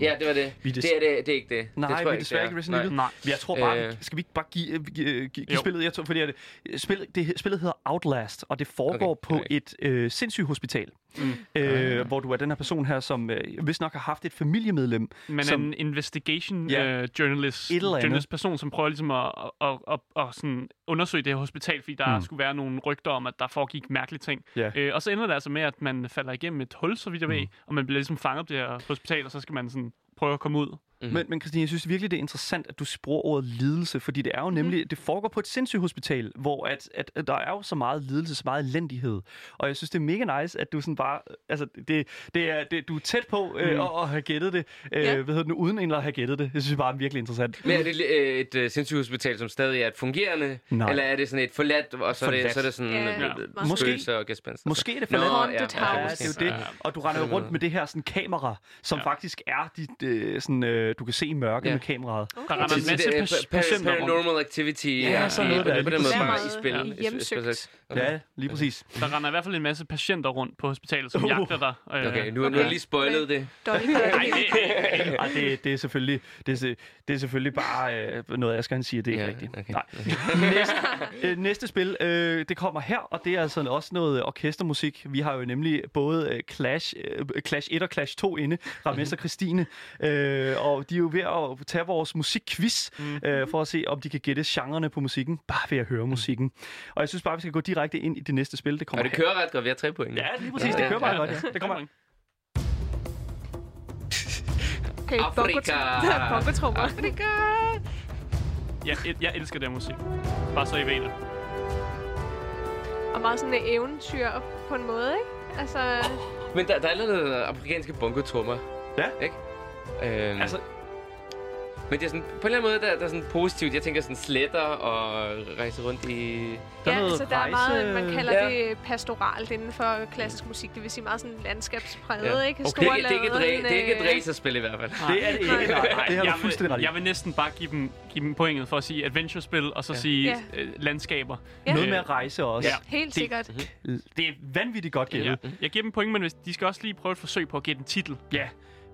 ja, det var det.
Vi er des-
Det er det, det er ikke det.
Nej,
det
det
tror
vi
jeg
er desværre
det
ikke Resident Evil.
Nej.
Nej.
Men Jeg tror bare,
Øh.
øh... skal vi ikke bare give, give, give, give
Jo.
spillet? Jeg tror, fordi at, øh, spil, det, spillet hedder Outlast, og det foregår
Okay,
okay. på
okay. Ah.
et øh, sindssyghospital, mm. øh, hvor du er den her person her, som øh, vist nok har haft et familiemedlem,
Men
som...
en investigation
Ja.
yeah. uh, journalist,
Et eller andet.
journalist person, som prøver ligesom at, at, at, at, at sådan undersøge det her hospital, fordi der mm. skulle være nogle rygter om, at der foregik mærkelige ting.
Ja.
Øh, og så ender det altså med, at man falder igennem et hul, så vidt jeg ved, og man bliver ligesom fanget på det her hospital, og så skal man sådan prøve at komme ud.
Men, men Christine, jeg synes virkelig, det er interessant, at du bruger ordet lidelse, fordi det er jo nemlig, det foregår på et sindssygehospital, hvor at, at, at der er jo så meget lidelse, så meget elendighed. Og jeg synes, det er mega nice, at du sådan bare, altså, det, det er, det, du er tæt på øh, at, at have gættet det, øh,
Ja.
hvad hedder det nu, uden egentlig at have gættet det. Jeg synes bare, det er virkelig interessant.
Men er det øh, et øh, sindssygehospital, som stadig er et fungerende?
Nej.
Eller er det sådan et forladt, og så, Er,
Forladt.
det, så er det sådan...
Ja,
øh,
ja.
øh,
Måske.
Spøgelser og gespenster.
Måske er det
Nå,
forladt.
ja,
Haunted
ja,
Ja,
House.
det
måske.
er jo det. Og du render jo rundt med det her sådan kamera, som ja. faktisk er dit, øh, sådan, øh, du kan se i mørke
Ja.
ja. med kameraet.
Der render en
Det er
masse
det, øh,
pas-
pa- pa-
patienter rundt.
paranormal activity.
altså Ja, sådan noget
og
der, Ligesom-
det er På
lige
den måde
præcis.
bare i
Meget,
spillet.
ja.
i- i-
Hjemsøgt.
specifikt. Okay.
Ja, lige præcis.
Der render i hvert fald en masse patienter rundt på hospitalet, som
Uh.
jagter dig. Øh,
Okay, nu, nu har jeg lige spoilet det.
Dolly
Nej, det,
Ej, det, det, er selvfølgelig, det, er, se- det er selvfølgelig bare øh, noget, Asger han siger, det er
Ja,
ikke rigtigt.
okay.
Nej. Næste, øh, næste spil, øh, det kommer her, og det er altså også noget orkestermusik. Vi har jo nemlig både øh, Clash, øh, Clash 1 og Clash 2 inde, Rames og Christine, øh, og de er jo ved at tage vores musikquiz,
Mhm.
øh, for at se, om de kan gætte genrerne på musikken, bare ved at høre musikken. Og jeg synes bare, vi skal gå direkte ind i det næste spil, det
Og
kommer
det
her.
kører ret godt, vi har tre point.
Ja, lige præcis, det kører bare godt. Ja. Det kommer her.
Okay,
Afrika.
bongotrummer. Afrika.
jeg, jeg, jeg elsker det her musik. Bare så I ved det.
Og meget sådan et eventyr på en måde, ikke? Altså,
Men der, der er allerede afrikanske bongotrummer,
Ja.
ikke? Øhm,
Altså,
Men det er sådan, på en eller anden måde, der, der er sådan positivt. Jeg tænker sådan sletter og rejse rundt i...
Der er
ja,
noget
altså, der er meget,
rejse-
man kalder
Ja.
det pastoralt inden for klassisk musik. Det vil sige meget sådan landskabspræget,
Ja.
ikke?
Det, er ikke- det, er ikke et,
Storladen,
ræ- det er ikke
øh,
et racerspil i hvert fald.
det er det ikke. Nej,
Ej,
det har
jeg
du fuldstændig ret
vil,
i.
jeg vil næsten bare give dem, give dem pointet for at sige adventure-spil, og så ja. sige
Ja.
øh, landskaber. Øh,
Ja.
Noget med at rejse også.
Ja.
Helt
Det-
sikkert.
Det er vanvittigt godt gættet.
Ja. Jeg giver dem point, men hvis, de skal også lige prøve et forsøg på at gætte en titel.
Ja.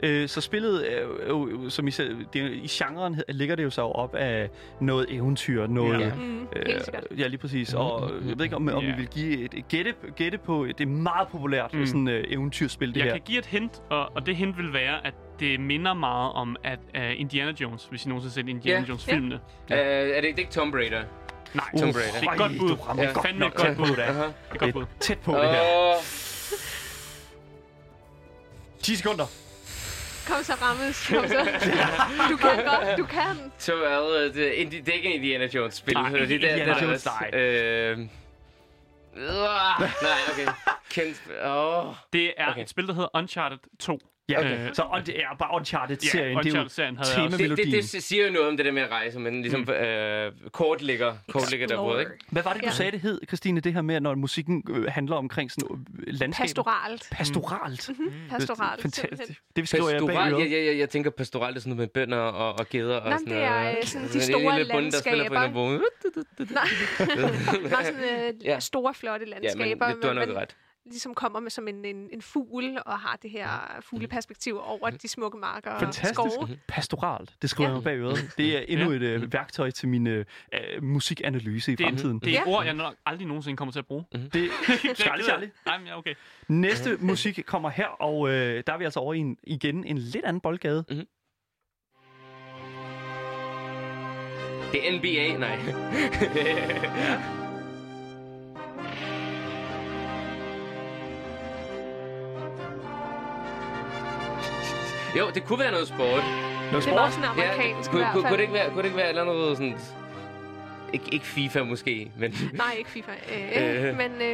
Øh, så spillet, øh, øh, som I, selv, det, er jo- i genren hed- ligger det jo så op af noget eventyr, noget... Ja.
Ja. Mm.
Mm, helt sikkert.
Øh, ja, lige præcis. Og øh, jeg ved ikke, om, om
Ja.
I vil give et et gætte, gætte på... Det er meget populært, mm. sådan øh, eventyrspil, det
Jeg
her.
kan give et hint, og, og det hint vil være, at det minder meget om at uh, Indiana Jones, hvis I nogensinde har set Indiana
Ja.
Jones-filmene.
Øh, er det, det er ikke Tomb Raider?
Nej,
Tomb
uh,
Raider.
Det er et godt bud.
Du rammer
Ja.
godt
Fandme
nok
et godt
tæt på
bud.
det.
Aha.
Det er
Det
godt bud.
er tæt på det her.
Åh,
10 sekunder.
Kom så, Rammes. Kom så. Du kan godt. Du kan.
så er det, det, er Indi- det er ikke en Indiana Jones-spil.
Nej,
det er
ikke Indiana
Jones,
nej. Øh, øh, nej, okay. Kendt, åh.
Det er
Okay.
okay. et spil, der hedder Uncharted 2.
Ja,
Okay.
så og det er bare Uncharted-serien. det er jo
Øh. Uncharted-serien havde jeg også.
Det, det,
temamelodien.
det, siger jo noget om det der med at rejse, men ligesom mm. øh, kort ligger, kort ligger derude, ikke?
Hvad var det, du
Ja.
sagde, det hed, Christine, det her med, at når musikken øh, handler omkring sådan øh, landskabet?
Pastoralt.
Pastoralt. Mm-hmm.
Pastoralt. Mhm, simpelthen.
Fantastisk. Det skriver jeg bag
Pastoral,
øret.
jeg, jeg, jeg, jeg tænker pastoralt er sådan noget med bønder og, og gæder og
Nå,
sådan
det
noget.
er, øh, sådan de store landskaber. Nej, bare sådan øh,
Ja.
ja. store, flotte
Ja, men
landskaber.
det- du har nok
man
ret.
ligesom kommer med som en, en, en fugl, og har det her fugleperspektiv over de smukke marker
Fantastisk.
og skove.
Pastoralt. Det skriver ja. jeg bag øret. Det er endnu et øh, værktøj til min øh, øh, musikanalyse i
Det, er-
fremtiden.
det er et
Ja.
ord, jeg nok aldrig nogensinde kommer til at bruge. Mm-hmm.
det, Charlie, Charlie.
Nej, men ja, okay.
Næste musik kommer her, og øh, der er vi altså over i en, igen en lidt anden boldgade.
Det er NBA, nej. jo, det kunne være noget sport.
Noget
Det var
sport?
sådan amerikansk ja, i
kunne,
hvert
kunne, kunne, det
fald.
ikke være, kunne det ikke være et eller andet sådan... Ikke, ikke FIFA måske, men...
Nej, ikke FIFA. Øh,
Øh.
øh. Men øh,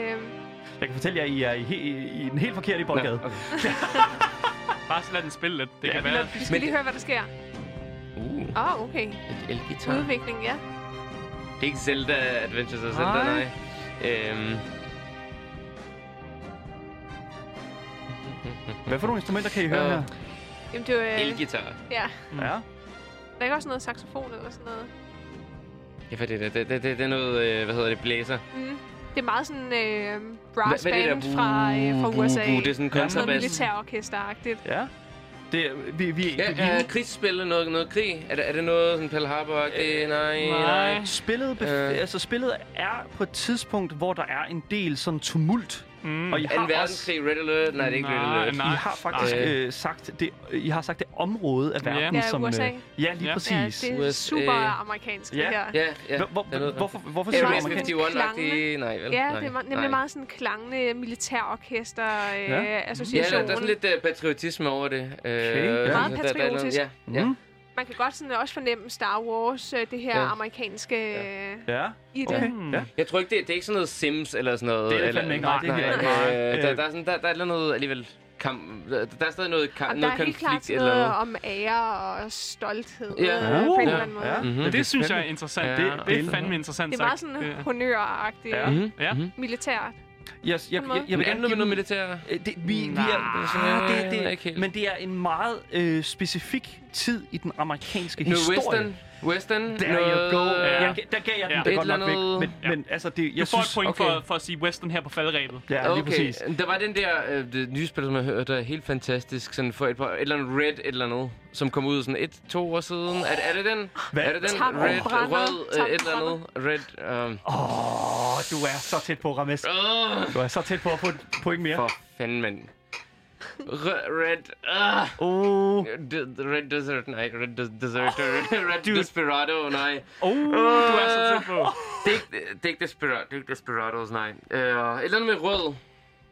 Jeg kan fortælle jer, at I er i, he, i den helt forkerte boldgade.
Nå, okay.
Bare så lad den spille lidt. Det ja, kan være...
vi skal
Men-
lige høre, hvad der sker.
Uh,
Åh, oh, okay.
et elgitar.
Udvikling, ja.
Det er ikke Zelda Adventures of Zelda,
Nej.
nej. Øhm,
Øh.
Hvad for nogle instrumenter kan I høre
Øh,
her?
Jamen, det er jo... Øh,
elgitar.
ja.
Ja.
Der er ikke også noget saxofon eller sådan noget?
Ja, hvad er det der? Det, det, det, det er noget, øh, hvad hedder det, blæser.
Det er meget sådan øh,
Hvad,
brass
hvad er det
band fra, øh, fra
Buh, buh,
USA.
buh, Det er sådan en
sådan noget
kontrabas.
militærorkesteragtigt.
ja. Det, er- vi, vi,
Ja,
vi,
er krigsspil noget, noget krig? Er det, er det noget sådan Pearl Harbor? Øh, nej, nej.
Nej.
Spillet, bef-
Øh.
øh. altså, spillet er på et tidspunkt, hvor der er en del sådan tumult. Mm. Og I har,
Anden
også,
verdenskrig, Red Alert? Nej, det er ikke Red
Nej,
Alert.
I
nej.
har faktisk
Nej.
øh, sagt det, I har sagt det område af verden,
Ja,
som... øh,
USA.
ja, lige
Ja.
Ja,
præcis.
det er
USA.
super amerikansk, det
Ja.
her.
Ja, ja.
Hvor, hvor,
der er noget-
hvorfor, hvorfor siger du
Area
meget
amerikansk?
51-agtig? Nej, vel?
Ja,
nej,
det er me- nemlig
nej.
meget sådan klangende militærorkester øh,
Ja.
ja.
Ja, der,
association.
der er sådan lidt uh, patriotisme over det. Uh,
ja.
Meget patriotisk.
Ja, ja.
Mhm.
Man kan godt sådan også fornemme Star Wars, øh, det her
Ja.
ja. amerikanske øh, ja.
Ja,
i det.
okay.
Okay.
Ja.
Jeg tror ikke, det, det er ikke sådan noget Sims eller sådan noget.
Det er det
eller,
fandme ikke. Nej, det er det
nej.
ikke.
Øh, der, der, er sådan, der, der er et eller andet alligevel kamp. Der, der er stadig noget, kamp,
Jamen, der
noget
er helt klart
konflikt
sådan
eller
noget
noget.
om ære og stolthed
Ja.
ja. øh, på en
Uh,
eller anden måde.
ja.
Ja.
Mm-hmm.
Men det synes jeg er interessant.
Ja,
Ja, det, det
det-
er fandme interessant
Det er meget
sagt.
sådan
Ja.
honøragtigt,
Ja.
ja.
Mhm.
Ja.
militært.
Yes, jeg,
På
jeg,
en måde.
jeg, jeg vil
Men er det
gerne
noget
give
med
dem-
noget militær?
Øh, Det, vi, vi
Nej,
er,
jeg
ah, det,
ved
det,
ikke helt.
men det er en meget øh, specifik tid i den amerikanske
Noget
historie.
western? Western?
There
noget,
you go.
øh,
Jeg, der gav jeg den
Ja.
da
Et
godt
eller
nok væk.
andet-
Men, men altså, det, jeg
Du får et
synes...
point for,
okay.
for at sige Western her på faldrebet.
Ja, lige
Okay,
præcis.
der var den der øh, det nye spil, som jeg hørte, der er helt fantastisk, sådan for et, par, et eller andet Red et eller andet, som kom ud sådan et, to år siden. Er, er det den?
Hvad?
Er det den?
Tam
Red,
brænder.
rød,
Tam
øh, et eller andet. Red, um,
Åh, oh, du er så tæt på, Rames. Du er så tæt på at få et point mere.
for fanden, mand. Red, red, uh,
Oh,
red Desert, nej, Red de- Desert, Red, red Desperado, nej. Øh,
oh,
Du er så tæt på.
Det er ikke, det er ikke Desperado, det er ikke Desperados, nej. Uh, et eller andet med rød.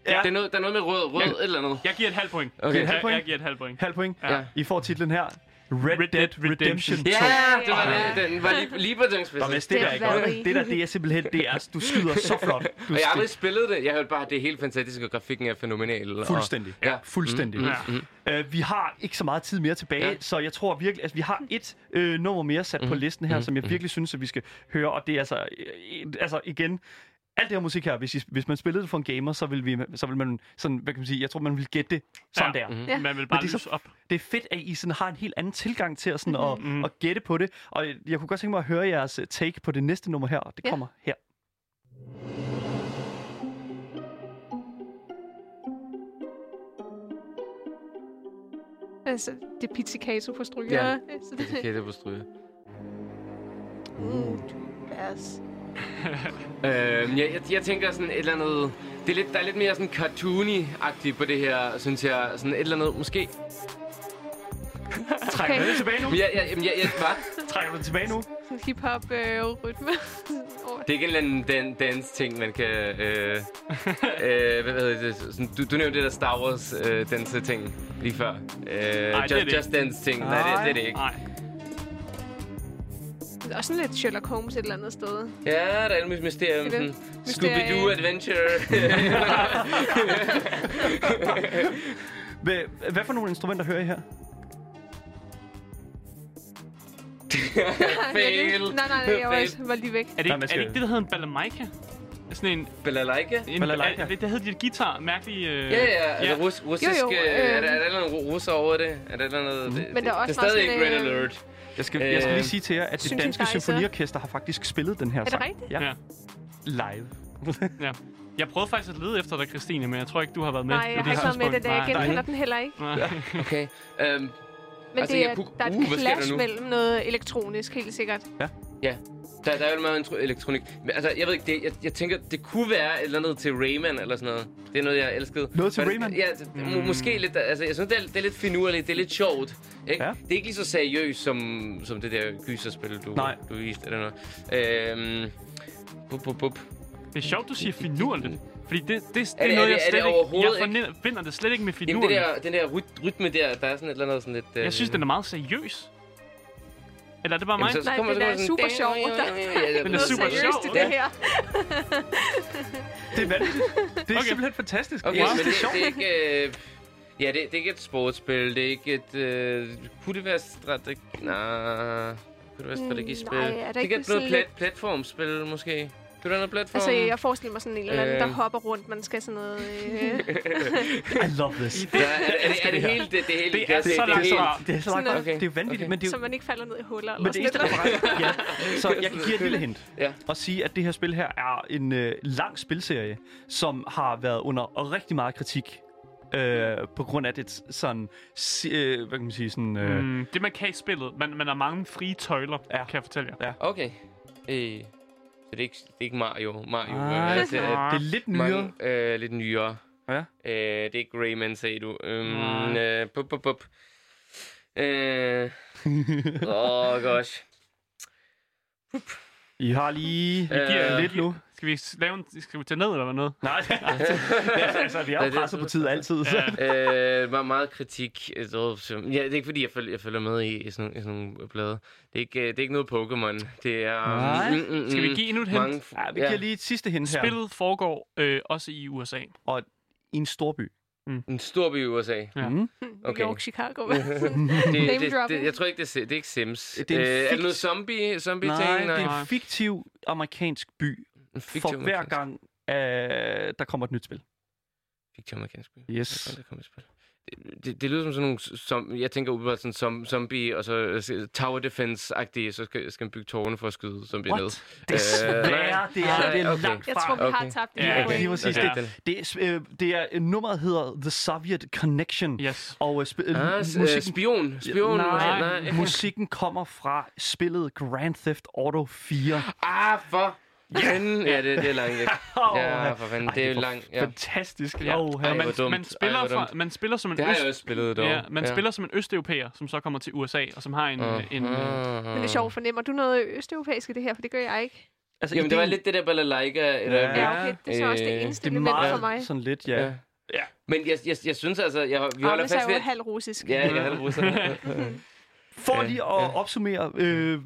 Ja.
Ja. Det er noget, der er noget med rød, rød, et eller andet.
Jeg giver et halvt point.
Okay.
Et halvt
Jeg,
point?
jeg giver et halvt point.
halv point.
Ja.
I får titlen her. Red,
Red
Dead
Dead
Redemption,
Redemption
2.
Ja, det var det. Den var lige, lige på den
Nå,
spidsen.
men det der er ikke
Det er
godt. Det der, det er simpelthen, det er, du skyder så flot. Du
Og jeg har
skyder-
aldrig spillet det. Jeg hørte bare, at det er helt fantastisk, og grafikken er fænomenal. og-
Fuldstændig.
Ja.
Ja. Fuldstændig. Mm, mm, mm. Øh, vi har ikke så meget tid mere tilbage, ja.
Ja.
så jeg tror virkelig, at altså, vi har et øh, nummer mere sat mm, på listen her, mm, som jeg virkelig synes, at vi skal høre. Og det er altså, øh, et- altså igen, alt det her musik her, hvis, I, hvis man spillede det for en gamer, så vil, vi, så vil man sådan, hvad kan man sige, jeg tror, man vil gætte det sådan
Ja. Mhm.
der. Mm.
Ja.
Man vil bare
det er så-
lyse op.
Det er fedt, at I sådan har en helt anden tilgang til at, sådan, at, at gætte på det. Og jeg kunne godt tænke mig at høre jeres øh, take på det næste nummer her, og det
Ja.
kommer her.
Altså, det er pizzicato på stryger.
Ja.
Ja. Så det,
Okay, det er på stryge.
mm, yes.
Øhm, jeg, jeg, jeg tænker sådan et eller andet... Det er lidt, der er lidt mere sådan cartoony-agtigt på det her, synes jeg. Sådan et eller andet, måske.
Trækker
Okay.
okay. du det tilbage nu?
Men jeg, jeg, jamen, jeg, jeg, hvad?
Trækker du det tilbage nu?
Sådan hip-hop-rytme. Øh, rytme. Over-
Det er ikke en eller anden dan- dans-ting, man kan... Øh, øh, hvad hedder det? Sådan, du, du nævnte det der Star Wars øh, danse-ting lige før. Øh,
er
just,
det ikke.
just Dance-ting. Nej, det, det er det ikke.
Nej.
Det er også sådan lidt Sherlock Holmes et eller andet sted.
Ja, der er alle mulige mysterium.
Det er det.
Sådan, Scooby-Doo Adventure.
Hvad, hvad for nogle instrumenter hører I her?
Fail.
Nej, nej, nej, jeg var,
Fail.
også, var lige væk.
Er det,
Nej,
ikke,
man
er
skal-
det ikke det, der hedder en balalaika? Sådan en...
Balalaika?
en
Balalaika?
Er det, der hedder dit guitar, mærkelig... Øh...
Ja, ja. Altså rus, russisk...
Jo,
Jo,
jo,
jo, øh, er, der,
øhm. Mm.
er der noget russer over det? Er der noget... Det,
Men der er også
det er stadig
bare
ikke Red
sådan, øh,
Alert.
Jeg skal, jeg skal
Øh,
lige sige til jer, at det danske
synthesizer.
symfoniorkester har faktisk spillet den her
det
sang.
rigtigt?
Ja.
Ja.
Live.
ja. Jeg prøvede faktisk at lede efter dig, Christine, men jeg tror ikke, du har været med.
Nej, jeg har ikke været med det, der jeg genkender den heller ikke.
igen.
Okay. Øhm,
Men
Altså,
det
jeg
er,
kunne-
der er et
Uh, hvad sker der
clash
nu?
mellem noget elektronisk, helt sikkert.
Ja, der, der er jo meget intro- elektronik. Men altså, jeg ved ikke, det, jeg, jeg tænker, det kunne være et eller andet til Rayman eller sådan noget. Det er noget, jeg elskede.
Noget til
Men-
Rayman?
Ja, det, må, måske lidt. Altså, jeg synes, det er, det er lidt finurligt, det er lidt sjovt. Ikke?
Ja.
Ja. Det er ikke lige så seriøst som, som det der gyserspil, du,
Nej.
du viste eller noget. Øhm, bup, bup, bup.
Det er sjovt, du siger finurligt. Fordi det, det, det, det er,
er
noget,
det-
jeg
er det
slet ikke...
overhovedet
Jeg forbinder- forbinder det slet ikke med
Jamen, det
finurligt.
der, den der ryt- rytme der, der er sådan et eller andet sådan lidt... øh,
Jeg synes, den er meget seriøs. Eller er det bare mig?
Nej, den er super sjov. Der er
Den er
Noget
super
seriøst i
sjov,
det
ja.
her.
Det er vanvittigt. Det er okay.
Okay.
simpelthen fantastisk.
Okay,
Wow.
men det, det er ikke... Øh, ja, det, det er ikke et sportsspil. Det er ikke et... Øh, kunne det være strategi... Nej... Kunne det være strategispil?
Mm, nej, er der
det
ikke
ikke
sådan
noget plat,
lidt-
platformspil, måske? Kunne det være noget platform?
Altså, jeg forestiller mig sådan en eller anden, der
Mm. Øh.
hopper rundt. Man skal sådan noget... Øh,
I love this.
Ja, er, er, det, er det hele... Det, det, hele
Det er så langt
helt-
fra.
Det er så langt.
Sådan
Okay.
noget.
Det er jo vanvittigt, okay.
Okay.
men det er
så
jo...
man ikke falder ned i huller. Eller
Men det
sådan
eneste,
noget.
der bare... Ja. Så jeg kan give jer et lille hint.
Ja.
og sige, at det her spil her er en øh, lang spilserie, som har været under rigtig meget kritik. Øh, på grund af det sådan, si- øh, hvad kan man sige, sådan, øh, mm.
Mm, det, man kan i spillet. Man, man har mange frie tøjler,
Ja.
ja. kan jeg fortælle jer.
Okay. Øh, så det er ikke, det er ikke Mario. Mario
Nej.
Ah.
øh, det er
det er lidt nyere.
mange, øh, lidt nyere.
Ja.
Øh, det er ikke Rayman, sagde du. Øhm,
Nej.
øh, bup, bup, bup. Øh, oh gosh.
I har lige...
Øh,
Giver
Øh,
jeg
lidt nu.
Skal vi, s- lave en, skal vi tage ned eller noget?
Nej, altså, altså, vi har
det-
presset på tid altid. Så.
øh, meget, meget kritik. øh, så- så- Ja, det er ikke fordi, jeg følger, jeg følger med i, i, sådan, i sådan nogle blade. Det er ikke, øh, det er ikke noget Pokémon. Det er...
Nej.
mm,
Skal vi give endnu et hint?
mange,
Ja, vi giver lige et sidste hint her.
Spillet foregår øh, også i USA.
Og i en storby.
En stor by i USA. Det,
Ja.
Mm.
Okay.
New York, Chicago. det Name
det, det,
dropping.
jeg tror ikke, det er, si- det er ikke Sims.
Det er en
øh, er
fikt-
det noget zombie, zombie
Nej,
ting?
det er
Nej.
en fiktiv amerikansk by,
en øh, fiktiv
for hver
amerikansk-
gang, øh, der kommer et nyt spil.
Fiktiv amerikansk by.
Yes.
Hvor er det kommet i spil? Det, det, det lyder som sådan nogle, som, jeg tænker umiddelbart sådan som, zombie, og så øh, tower defense-agtige, så skal, skal man bygge tårne for at skyde zombie
What?
ned. Øh,
Desværre, det er,
nej,
det er
okay.
langt fra.
Jeg tror, vi har
Okay.
tabt det.
Ja,
her
Ja, okay.
point.
lige præcis.
Ja.
Det, det, er, øh, det er, nummeret hedder The Soviet Connection.
Yes.
Og øh, sp-
Ah,
ah,
s- øh,
musikken,
spion. Spion.
Nej.
nej.
musikken kommer fra spillet Grand Theft Auto 4.
Ah, for fanden. Ja, det, det er langt væk. Ja,
Åh,
for fanden.
ej,
Det er
hvor
jo langt. Ja.
Fantastisk.
Ja.
Ja. Oh,
og
hvor
man,
dumt.
man, spiller
Ej, hvor
fra,
dumt.
man spiller som en
Det har
øst...
jeg også spillet, dog.
Ja, man spiller som en østeuropæer, som så kommer til USA, og som har en... Uh, en uh,
Men det er sjovt, fornemmer du noget østeuropæisk i det her? For det gør jeg ikke.
Altså,
Jamen, det var
ideen-
lidt det der balalaika. Eller,
Ja.
Ja, okay. Det er så også det
Øh,
eneste
det er
element for
meget
mig.
sådan lidt, ja.
ja.
ja.
Men jeg, jeg, jeg synes altså, jeg, vi holder
Agnes er
fast ved...
jo
at-
halv russisk.
Ja, jeg er russer.
For
Ja,
lige at opsummere, øh, øh,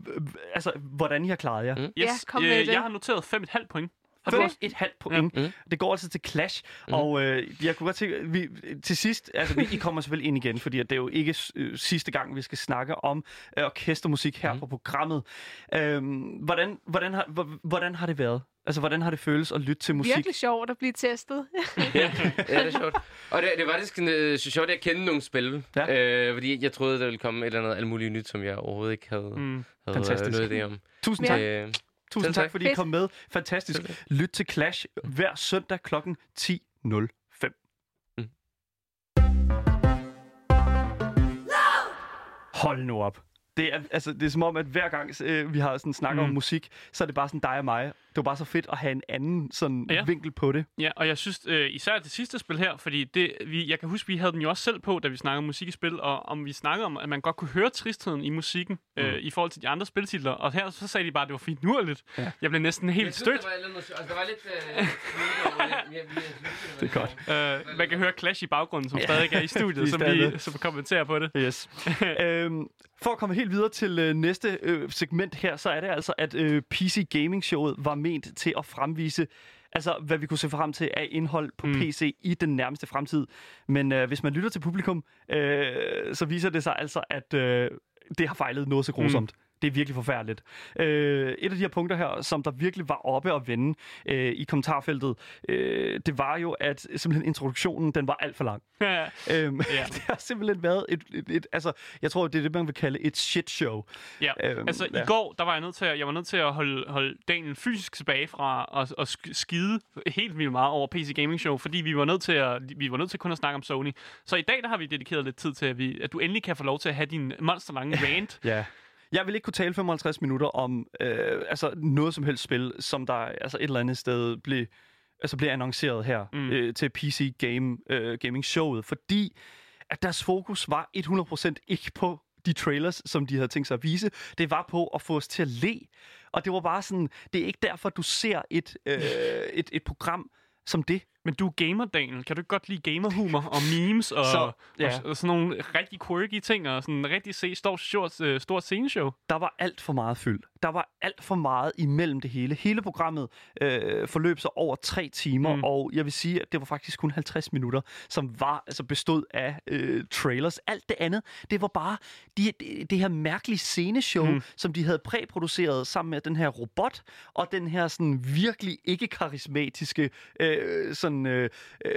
altså, hvordan I har klaret jer. Mm.
yes,
Ja, kom med
øh,
det.
jeg har noteret 5,5 point.
Har du også et halvt point? Ja. Det går altså til Clash, mm. og øh, jeg kunne godt tænke, vi, til sidst, altså vi, I kommer selvfølgelig ind igen, fordi at det er jo ikke øh, sidste gang, vi skal snakke om øh, orkestermusik her mm. på programmet. Øhm, hvordan, hvordan, har, hvor- hvordan har det været? Altså, hvordan har det føles at lytte til musik?
Virkelig sjovt at blive testet.
ja, det er sjovt. Og det, det var faktisk øh, sjovt at kende nogle spil.
Ja.
Ja. Øh, fordi jeg troede, der ville komme et eller andet alt muligt nyt, som jeg overhovedet ikke havde, mm. havde
Fantastisk.
Fantastisk. noget idé om.
Tusind
Ja.
tak.
Øh,
Tusind
Selv
tak,
tak.
fordi I
Fedt.
kom med. Fantastisk. Lyt til Clash hver søndag kl. 10.05.
Mm.
Hold nu op. Det er, altså, det er som om, at hver gang øh, vi har sådan snakker mm. om musik, så er det bare sådan dig og mig, der jo bare så fedt at have en anden sådan
Ja.
ja. vinkel på det.
Ja, og jeg synes øh, især det sidste spil her, fordi det, vi, jeg kan huske, vi havde den jo også selv på, da vi snakkede om musik i spil, og om vi snakkede om, at man godt kunne høre tristheden i musikken øh, i forhold til de andre spiltitler. Og her så sagde de bare, at det var finurligt. Ja. Jeg blev næsten helt stødt.
der var, lidt, altså, der var lidt... Øh, det er
godt.
Øh, man kan høre Clash i baggrunden, som stadig er i
Vi
studiet,
er
som,
stadig
lige,
med.
som kommenterer på det.
Yes. øhm, for at komme helt videre til øh, næste øh, segment her, så er det altså, at øh, PC Gaming Showet var ment til at fremvise, altså hvad vi kunne se frem til af indhold på mm. PC i den nærmeste fremtid. Men øh, hvis man lytter til publikum, øh, så viser det sig altså, at øh, det har fejlet noget så grusomt. Mm. Det er virkelig forfærdeligt. Øh, et af de her punkter her, som der virkelig var oppe at vende øh, i kommentarfeltet, øh, det var jo, at simpelthen introduktionen, den var alt for lang.
Ja.
Øhm,
Ja.
ja. Det har simpelthen været et, et, et... Altså, jeg tror, det er det, man vil kalde et shit show.
Ja, øhm,
Øhm,
altså ja.
ja.
i går, der var jeg nødt til at, jeg var nødt til at holde, holde Daniel fysisk tilbage fra at, at sk- skide helt vildt meget over PC Gaming Show, fordi vi var nødt til at, vi var nødt til kun at snakke om Sony. Så i dag, der har vi dedikeret lidt tid til, at, vi, at du endelig kan få lov til at have din monsterlange rant.
Ja. Jeg vil ikke kunne tale 55 minutter om øh, altså noget som helst spil, som der altså et eller andet sted blev, altså blev annonceret her mm. øh, til PC Game, øh, Gaming Showet, fordi at deres fokus var 100% ikke på de trailers, som de havde tænkt sig at vise. Det var på at få os til at le. Og det var bare sådan, det er ikke derfor, du ser et, øh, et, et program som det.
Men du er gamer, Daniel. Kan du ikke godt lide gamerhumor og memes og,
Så, ja.
og, og, sådan nogle rigtig quirky ting og sådan rigtig se, stor, short, øh, stort sceneshow?
Der var alt for meget fyld. Der var alt for meget imellem det hele. Hele programmet øh, forløb sig over tre timer, mm. og jeg vil sige, at det var faktisk kun 50 minutter, som var altså bestod af øh, trailers. Alt det andet, det var bare de, de, det her mærkelige sceneshow, mm. som de havde præproduceret sammen med den her robot, og den her sådan virkelig ikke karismatiske øh, sådan, øh, øh,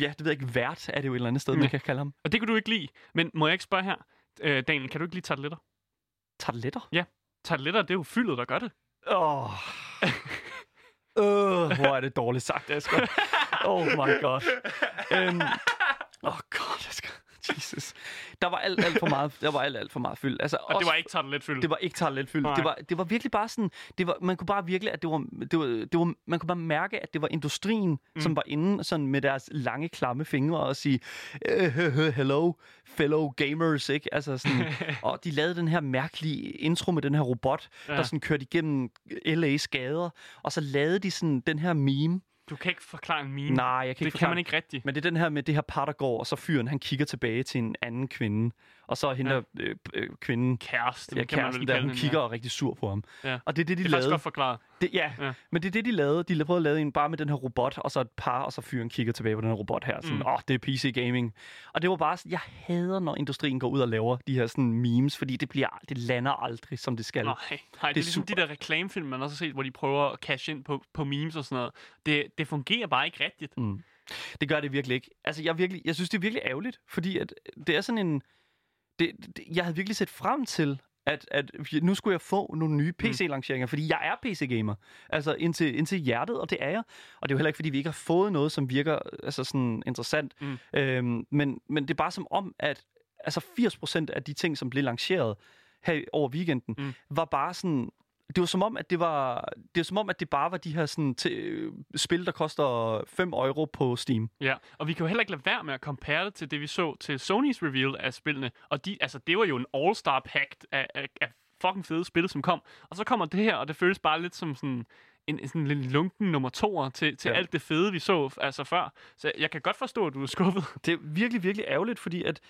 ja, det ved jeg ikke, vært er det jo et eller andet sted, man kan kalde ham.
Og det kunne du ikke lide. Men må jeg ikke spørge her? Øh, Daniel, kan du ikke lide tarteletter?
Tartletter?
Ja, tarteletter, det er jo fyldet, der gør det.
Åh. Oh. Øh, hvor er det dårligt sagt, Asger. Oh my god. Øhm, oh god, Asger. Jesus. Der var alt, alt for meget, der var alt, alt for meget fyld. Altså,
Og det var ikke tarteletfyldt.
det var ikke toiletfyldt.
Nej.
Det var, det var virkelig bare sådan, det var, man kunne bare virkelig, at det var, det var, det var, man kunne bare mærke, at det var industrien, mm. som var inde sådan med deres lange, klamme fingre og sige, "Øh, øh, øh, hello, fellow gamers, ikke? Altså sådan, og de lavede den her mærkelige intro med den her robot, ja. der sådan kørte igennem LA's gader, og så lavede de sådan den her meme,
Du kan ikke forklare en meme.
Nej, jeg kan ikke
Mm. Det kan
forklare
man
den.
ikke rigtigt.
men det er den her med det her par, der går, og så fyren, han kigger tilbage til en anden kvinde, og så hende ja. øh, øh, kvinden,
Kæresten,
ja,
kan man
kæresten
vel
der,
kalde
hun
den,
kigger
ja.
og er rigtig sur på ham.
Ja.
Og det er det, de
Det er faktisk
lavede.
godt forklaret.
Det, ja.
Ja.
ja, men det er det, de lavede. De prøvede at lave en bare med den her robot, og så et par, og så fyren kigger tilbage på den her robot her. Sådan, åh, mm. oh, det er PC gaming. Og det var bare sådan, jeg hader, når industrien går ud og laver de her sådan memes, fordi det, bliver, det lander aldrig, som det skal.
Nej, nej, det, er ligesom
super.
de der reklamefilm, man også har set, hvor de prøver at cash ind på, på memes og sådan noget. Det, det fungerer bare ikke rigtigt. Mm.
Det gør det virkelig ikke. Altså, jeg, er virkelig, jeg synes, det er virkelig ærgerligt, fordi at øh, det er sådan en... Det, det, jeg havde virkelig set frem til, at, at nu skulle jeg få nogle nye PC-lanceringer, fordi jeg er PC-gamer. Altså indtil, indtil hjertet, og det er jeg. Og det er jo heller ikke, fordi vi ikke har fået noget, som virker altså sådan interessant. Mm. Øhm, men, men det er bare som om, at altså 80% af de ting, som blev lanceret her i- over weekenden, mm. var bare sådan... Det var som om, at det var, det var som om, at det bare var de her sådan, til, spil, der koster 5 euro på Steam.
Ja, og vi kan jo heller ikke lade være med at compare det til det, vi så til Sonys reveal af spillene. Og de, altså, det var jo en all-star pact af, af, af fucking fede spil, som kom. Og så kommer det her, og det føles bare lidt som sådan en, en sådan lidt lunken nummer toer til, til ja.
Ja.
alt det fede, vi så altså før. Så jeg kan godt forstå, at du er skuffet.
det er virkelig, virkelig ærgerligt, fordi at,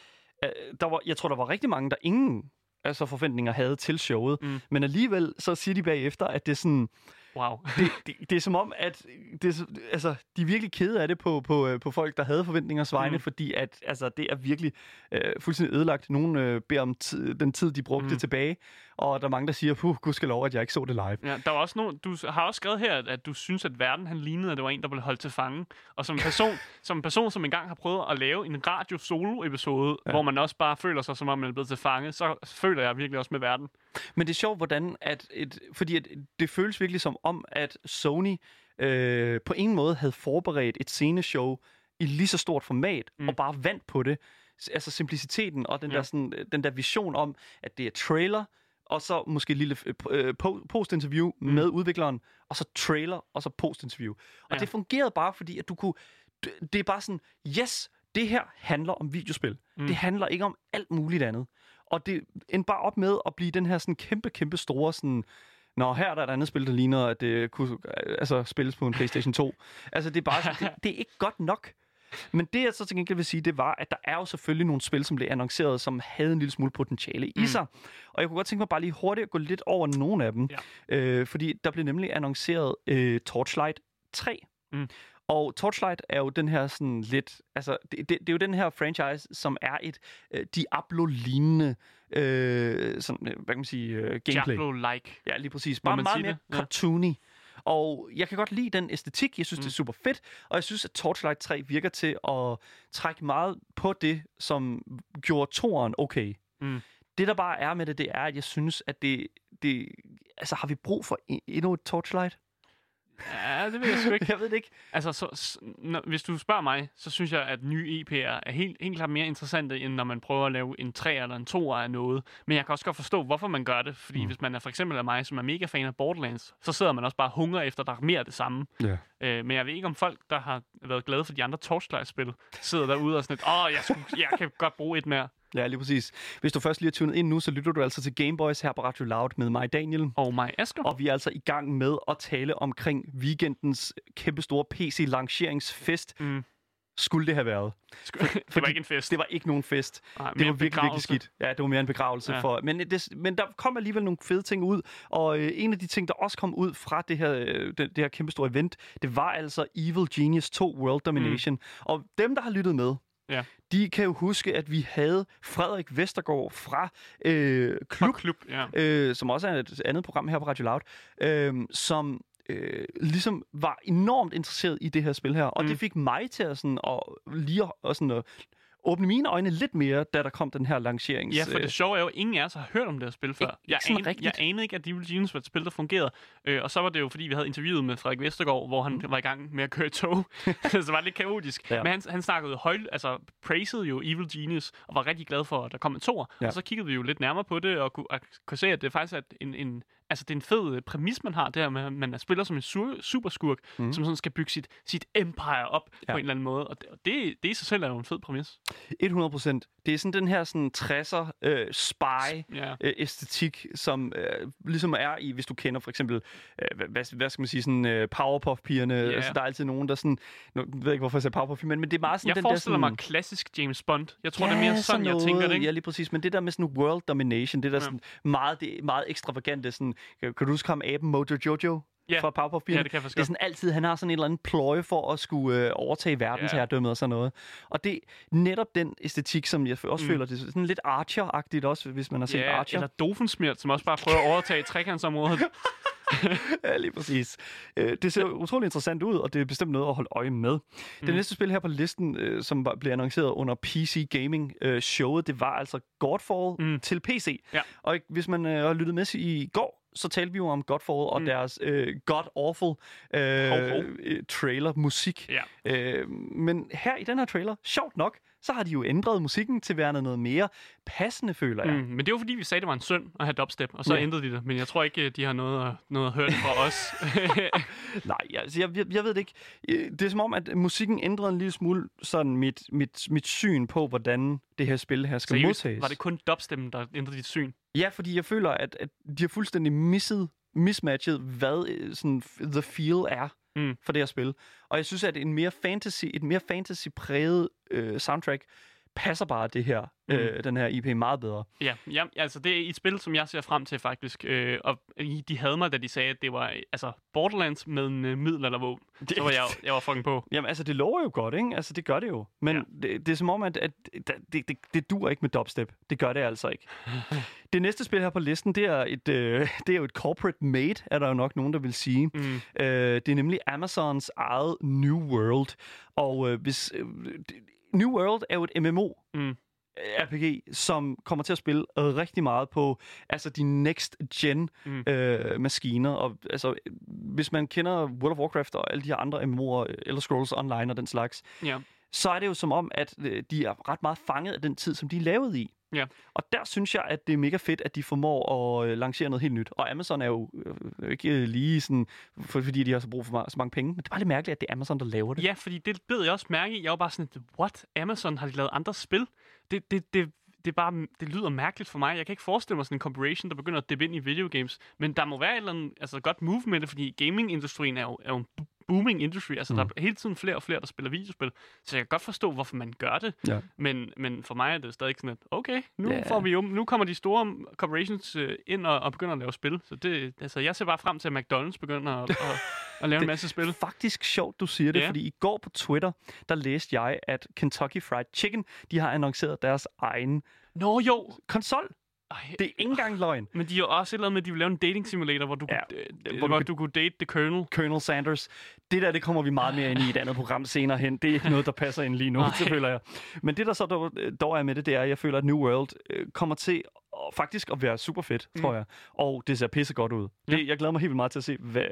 øh, der var, jeg tror, der var rigtig mange, der ingen altså forventninger havde til showet. Mm. Men alligevel, så siger de bagefter, at det er sådan...
Wow.
Det, det, det er som om, at det er, så- altså, de er virkelig kede af det på, på, øh, på folk, der havde forventningers vegne, mm. fordi at, altså, det er virkelig øh, fuldstændig ødelagt. Nogle øh, beder om ti- den tid, de brugte mm. tilbage, og der er mange, der siger, puh, gudskelov, at jeg ikke så det live.
Ja, der var også nogen, du har også skrevet her, at, at du synes, at verden han lignede, at det var en, der blev holdt til fange. Og som en person, som, en person, som engang har prøvet at lave en radio-solo-episode, ja. hvor man også bare føler sig, som om man er blevet til fange, så føler jeg virkelig også med verden.
Men det er sjovt, hvordan at et, fordi at det føles virkelig som om, at Sony øh, på en måde havde forberedt et sceneshow i lige så stort format, mm. og bare vandt på det. S- Altså simpliciteten og den,
Ja.
ja. der, sådan, øh, den der vision om, at det er trailer, og så måske et lille øh, po- postinterview mm. med udvikleren, og så trailer, og så postinterview. Og
Ja.
ja. det fungerede bare, fordi at du kunne... d- Det er bare sådan, yes, det her handler om videospil. Mm. Det handler ikke om alt muligt andet. Og det endte bare op med at blive den her sådan kæmpe, kæmpe store sådan... Nå, her er der et andet spil, der ligner, at det kunne øh, altså, spilles på en PlayStation 2. Altså, det er bare sådan, det, det er ikke godt nok. Men det, jeg så til gengæld vil sige, det var, at der er jo selvfølgelig nogle spil, som blev annonceret, som havde en lille smule potentiale i mm. sig. Og jeg kunne godt tænke mig bare lige hurtigt at gå lidt over nogle af dem. Ja. Øh, fordi der blev nemlig annonceret øh, Torchlight 3.
Mm.
Og Torchlight er jo den her sådan lidt... Altså, det, det, det er jo den her franchise, som er et øh, Diablo-lignende øh, sådan, øh, hvad kan man sige, øh, gameplay.
Diablo-like.
Ja, lige præcis.
Må
Bare
man
meget
sige
mere
det? Ja.
cartoony. Og jeg kan godt lide den æstetik. Jeg synes, mm. det er super fedt. Og jeg synes, at Torchlight 3 virker til at trække meget på det, som gjorde toeren okay.
Mm.
Det, der bare er med det, det er, at jeg synes, at det... det altså, har vi brug for en- endnu et Torchlight?
Ja, det ved jeg sgu ikke.
Jeg ved det ikke.
Altså, så, s- når, hvis du spørger mig, så synes jeg, at nye EP'er er helt, helt klart mere interessante, end når man prøver at lave en 3 eller en 2 af noget. Men jeg kan også godt forstå, hvorfor man gør det. Fordi mm. hvis man er for eksempel af mig, som er mega fan af Borderlands, så sidder man også bare og hungrer efter, at der er mere af det samme.
Ja.
Øh, men jeg ved ikke, om folk, der har været glade for de andre Torchlight-spil, sidder derude og sådan lidt, åh, jeg, skulle, jeg kan godt bruge et mere.
Ja, lige præcis. Hvis du først lige er tunet ind nu, så lytter du altså til Gameboys her på Radio Loud med mig, Daniel.
Og mig, Oh Asger.
Og vi er altså i gang med at tale omkring weekendens kæmpestore PC-lanceringsfest.
Mm.
Skulle det have været?
Sk- det var ikke en fest.
Det var ikke nogen fest.
Nej,
det var
mere en
virkelig, virkelig
begravelse.
skidt. Ja, det var mere en begravelse.
Ja.
Ja. For, men, det, men der kom alligevel nogle fede ting ud, og øh, en af de ting, der også kom ud fra det her, øh, det, det her kæmpe store event, det var altså Evil Genius 2 World Domination. Mm. Og dem, der har lyttet med,
Ja.
de kan jo huske, at vi havde Frederik Vestergaard fra øh, Klub,
Klub. klub, ja.
øh, som også er et andet program her på Radio Loud, øh, som øh, ligesom var enormt interesseret i det her spil her. Og mm. det fik mig til at, sådan, at lige at, og sådan, at åbne mine øjne lidt mere, da der kom den her lancerings...
Ja, for
øh,
det sjove er jo, at ingen af os har hørt om det her spil før.
Ikke- ikke
jeg,
sådan
anede,
rigtigt.
jeg anede ikke, at Evil Genius var et spil, der fungerede. Øh, og så var det jo, fordi vi havde interviewet med Frederik Vestergaard, hvor han var i gang med at køre i tog. så det var lidt kaotisk.
Mm. Ja.
Men han, han snakkede høj, altså praisede jo Evil Genius, og var rigtig glad for, at der kom en tor.
Ja.
Og så kiggede vi jo lidt nærmere på det, og kunne, og kunne se, at det faktisk er en, en, altså, det er en fed øh, præmis, man har, det her med, at man er spiller som en sur, superskurk, mm. som sådan skal bygge sit, sit empire op ja.
Ja.
på en eller anden måde. Og det, og det, det i sig selv er jo en fed præmis.
100 øh, procent. Det er sådan den her sådan 60'er øh, spy
Ja.
øh, æstetik, som øh, ligesom er i, hvis du kender for eksempel, øh, hvad- hvad, hvad skal man sige, sådan øh, Powerpuff-pigerne. Yeah. Altså, der er altid nogen, der sådan, nu ved jeg ikke, hvorfor jeg sagde Powerpuff, men, men det er meget sådan
Jeg
den der
forestiller
sådan...
mig klassisk James Bond. Jeg tror, det er mere sådan, jeg
noget.
tænker det, ikke?
Ja, lige præcis. Men det der med sådan world domination, det der sådan meget, det, meget ekstravagante, sådan, kan, kan du huske ham, aben Mojo Jojo?
Ja.
fra Powerpuff
Ja, det kan jeg faktisk
Det er sådan altid, han har sådan en eller anden pløje for at skulle øh, overtage verdensherredømmet og sådan noget. Og det er netop den æstetik, som jeg f- også mm. føler, det er sådan lidt Archer-agtigt også, hvis man har set
Ja,
Archer.
eller Dofensmirt, som også bare prøver at overtage trekantsområdet.
Ja, lige præcis. Øh, Det ser utrolig interessant ud, og det er bestemt noget at holde øje med. Det
Mm.
næste spil her på listen, øh, som var- blev annonceret under PC Gaming øh, showet, det var altså Godfall
Mm.
mm. til PC.
Ja.
Og ikke- hvis man øh, har lyttet med i går, så talte vi jo om Godfall og
Mm.
mm. deres øh, God Awful
Hov, hov.
øh, øh, trailer musik.
ja.
Øh, men her i den her trailer, sjovt nok, så har de jo ændret musikken til værende noget mere passende, føler jeg.
Mm, men det var fordi, vi sagde, det var en synd at have dubstep, og så
Ja.
ændrede de det. Men jeg tror ikke, de har noget at, noget at høre det fra os.
Nej, jeg, altså, jeg, jeg, jeg ved det ikke. Øh, Det er som om, at musikken ændrede en lille smule sådan mit, mit, mit syn på, hvordan det her spil her skal
Seriøst,
modtages.
var det kun dubsteppen, der ændrede dit syn?
Ja, fordi jeg føler, at, at de har fuldstændig misset, mismatchet, hvad øh, sådan, f- the feel er
Mm.
mm. for det her spil. Og jeg synes, at en mere fantasy, et mere fantasy-præget øh, soundtrack passer bare det her, mm. øh, den her IP meget bedre.
Ja, ja, altså det er et spil, som jeg ser frem til faktisk. Øh, og I- de havde mig, da de sagde, at det var øh, altså Borderlands med en øh, middelaldervåben. Så var jeg, jo- jeg var fucking på.
Jamen, altså, det lover jo godt, ikke? Altså, det gør det jo. Men
Ja.
ja. det, det er som om, at, at det, det, det dur ikke med dubstep. Det gør det altså ikke. det næste spil her på listen, det er, et, øh, det er jo et corporate made, er der jo nok nogen, der vil sige. Mm. Øh, det er nemlig Amazons eget New World. Og øh, hvis... Øh, det- New World er jo et MMO.
Mm.
RPG, som kommer til at spille rigtig meget på altså de next gen
Mm.
mm. øh, maskiner. Og, altså, hvis man kender World of Warcraft og alle de her andre MMO'er, øh, Elder Scrolls Online og den slags,
Ja.
så er det jo som om, at øh, de er ret meget fanget af den tid, som de er lavet i.
Ja.
Og der synes jeg, at det er mega fedt, at de formår at øh, lancere noget helt nyt. Og Amazon er jo øh, ikke øh, lige sådan, for, fordi de har så brug for ma- så mange penge, men det er bare lidt mærkeligt, at det er Amazon, der laver det.
Ja, fordi det bed jeg også mærke i. Jeg var bare sådan, at, what? Amazon har de lavet andre spil? Det, det, det, det, er bare, det lyder mærkeligt for mig. Jeg kan ikke forestille mig sådan en corporation, der begynder at dæppe ind i videogames. Men der må være et eller andet altså, godt move med det, fordi gamingindustrien er jo, er jo en bu- booming industry. Altså, mm. der er hele tiden flere og flere, der spiller videospil. Så jeg kan godt forstå, hvorfor man gør det.
Ja.
Men, men for mig er det stadig sådan, at okay, nu,
Ja.
yeah. får vi jo, nu kommer de store corporations øh, ind og, og begynder at lave spil. Så det, altså, jeg ser bare frem til, at McDonald's begynder at, at, at lave en masse spil.
Faktisk sjovt, du siger det,
Ja.
fordi i går på Twitter, der læste jeg, at Kentucky Fried Chicken, de har annonceret deres egen
Nå jo!
konsol.
Ej,
Det er ikke engang løgn.
Men de har også et eller andet med, at de vil lave en dating simulator, hvor du, ja,
Ja,
kunne, øh,
hvor
hvor
du
du,
kan-
du kunne date the colonel.
Colonel Sanders. Det der, det kommer vi meget mere ind i et andet program senere hen. Det er ikke noget, der passer ind lige nu, det føler jeg. Men det, der så dog, dog er med det, det er, at jeg føler, at New World øh, kommer til at, faktisk at være super fedt, mm. tror jeg. Og det ser pisse godt ud. Det, Jeg glæder mig helt vildt meget til at se, hvad,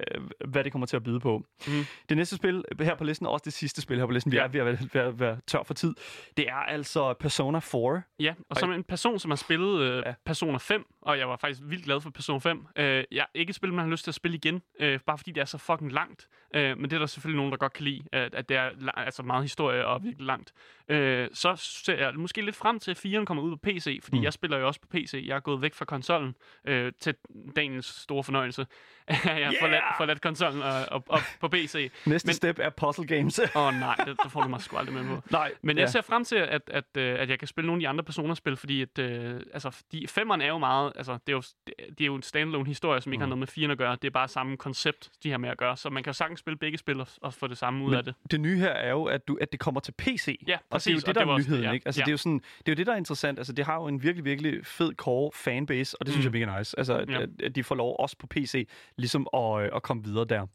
hvad det kommer til at byde på. Mm. Det næste spil her på listen, og også det sidste spil her på listen, vi
Ja.
er ved at være, være, være tør for tid, det er altså Persona 4.
Ja, og som en person, som har spillet øh, ja. Persona 5, og jeg var faktisk vildt glad for Persona 5. Øh, jeg er ikke et spil, man har lyst til at spille igen, øh, bare fordi det er så fucking langt. Øh, men det er der selvfølgelig nogen, der godt kan lide, at, at det er la- altså meget historie og virkelig langt. Øh, så ser jeg måske lidt frem til, at 4'eren kommer ud på PC, fordi mm. jeg spiller jo også på PC. Jeg er gået væk fra konsollen øh, til Daniels store fornøjelse. jeg har yeah! forladt, forladt konsollen og, og, og på PC.
Næste
Men-
Men... step er Puzzle Games.
Åh oh, nej, det, det får du mig sgu aldrig med på.
Nej,
Men jeg
ja.
ser frem til, at, at, øh, at jeg kan spille nogle af de andre Persona-spil, fordi at, øh, altså, de, femmeren er jo meget, altså, det er jo, det er jo en standalone historie, som ikke mm. har noget med firen at gøre. Det er bare samme koncept, de har med at gøre. Så man kan jo sagtens spille begge spil og, og få det samme ud Men, af det.
det nye her er jo, at, du, at det kommer til PC.
Ja, præcis,
Og det er jo
og
det, der
det var
er
også det,
nyheden,
ja.
ikke? Altså,
Ja.
det, er jo sådan, det er jo det, der er interessant. Altså, det har jo en virkelig, virkelig fed core fanbase, og det synes jeg er mega nice. Altså, at,
Mm. Ja.
ja. at de får lov også på PC ligesom at, øh, at komme videre der.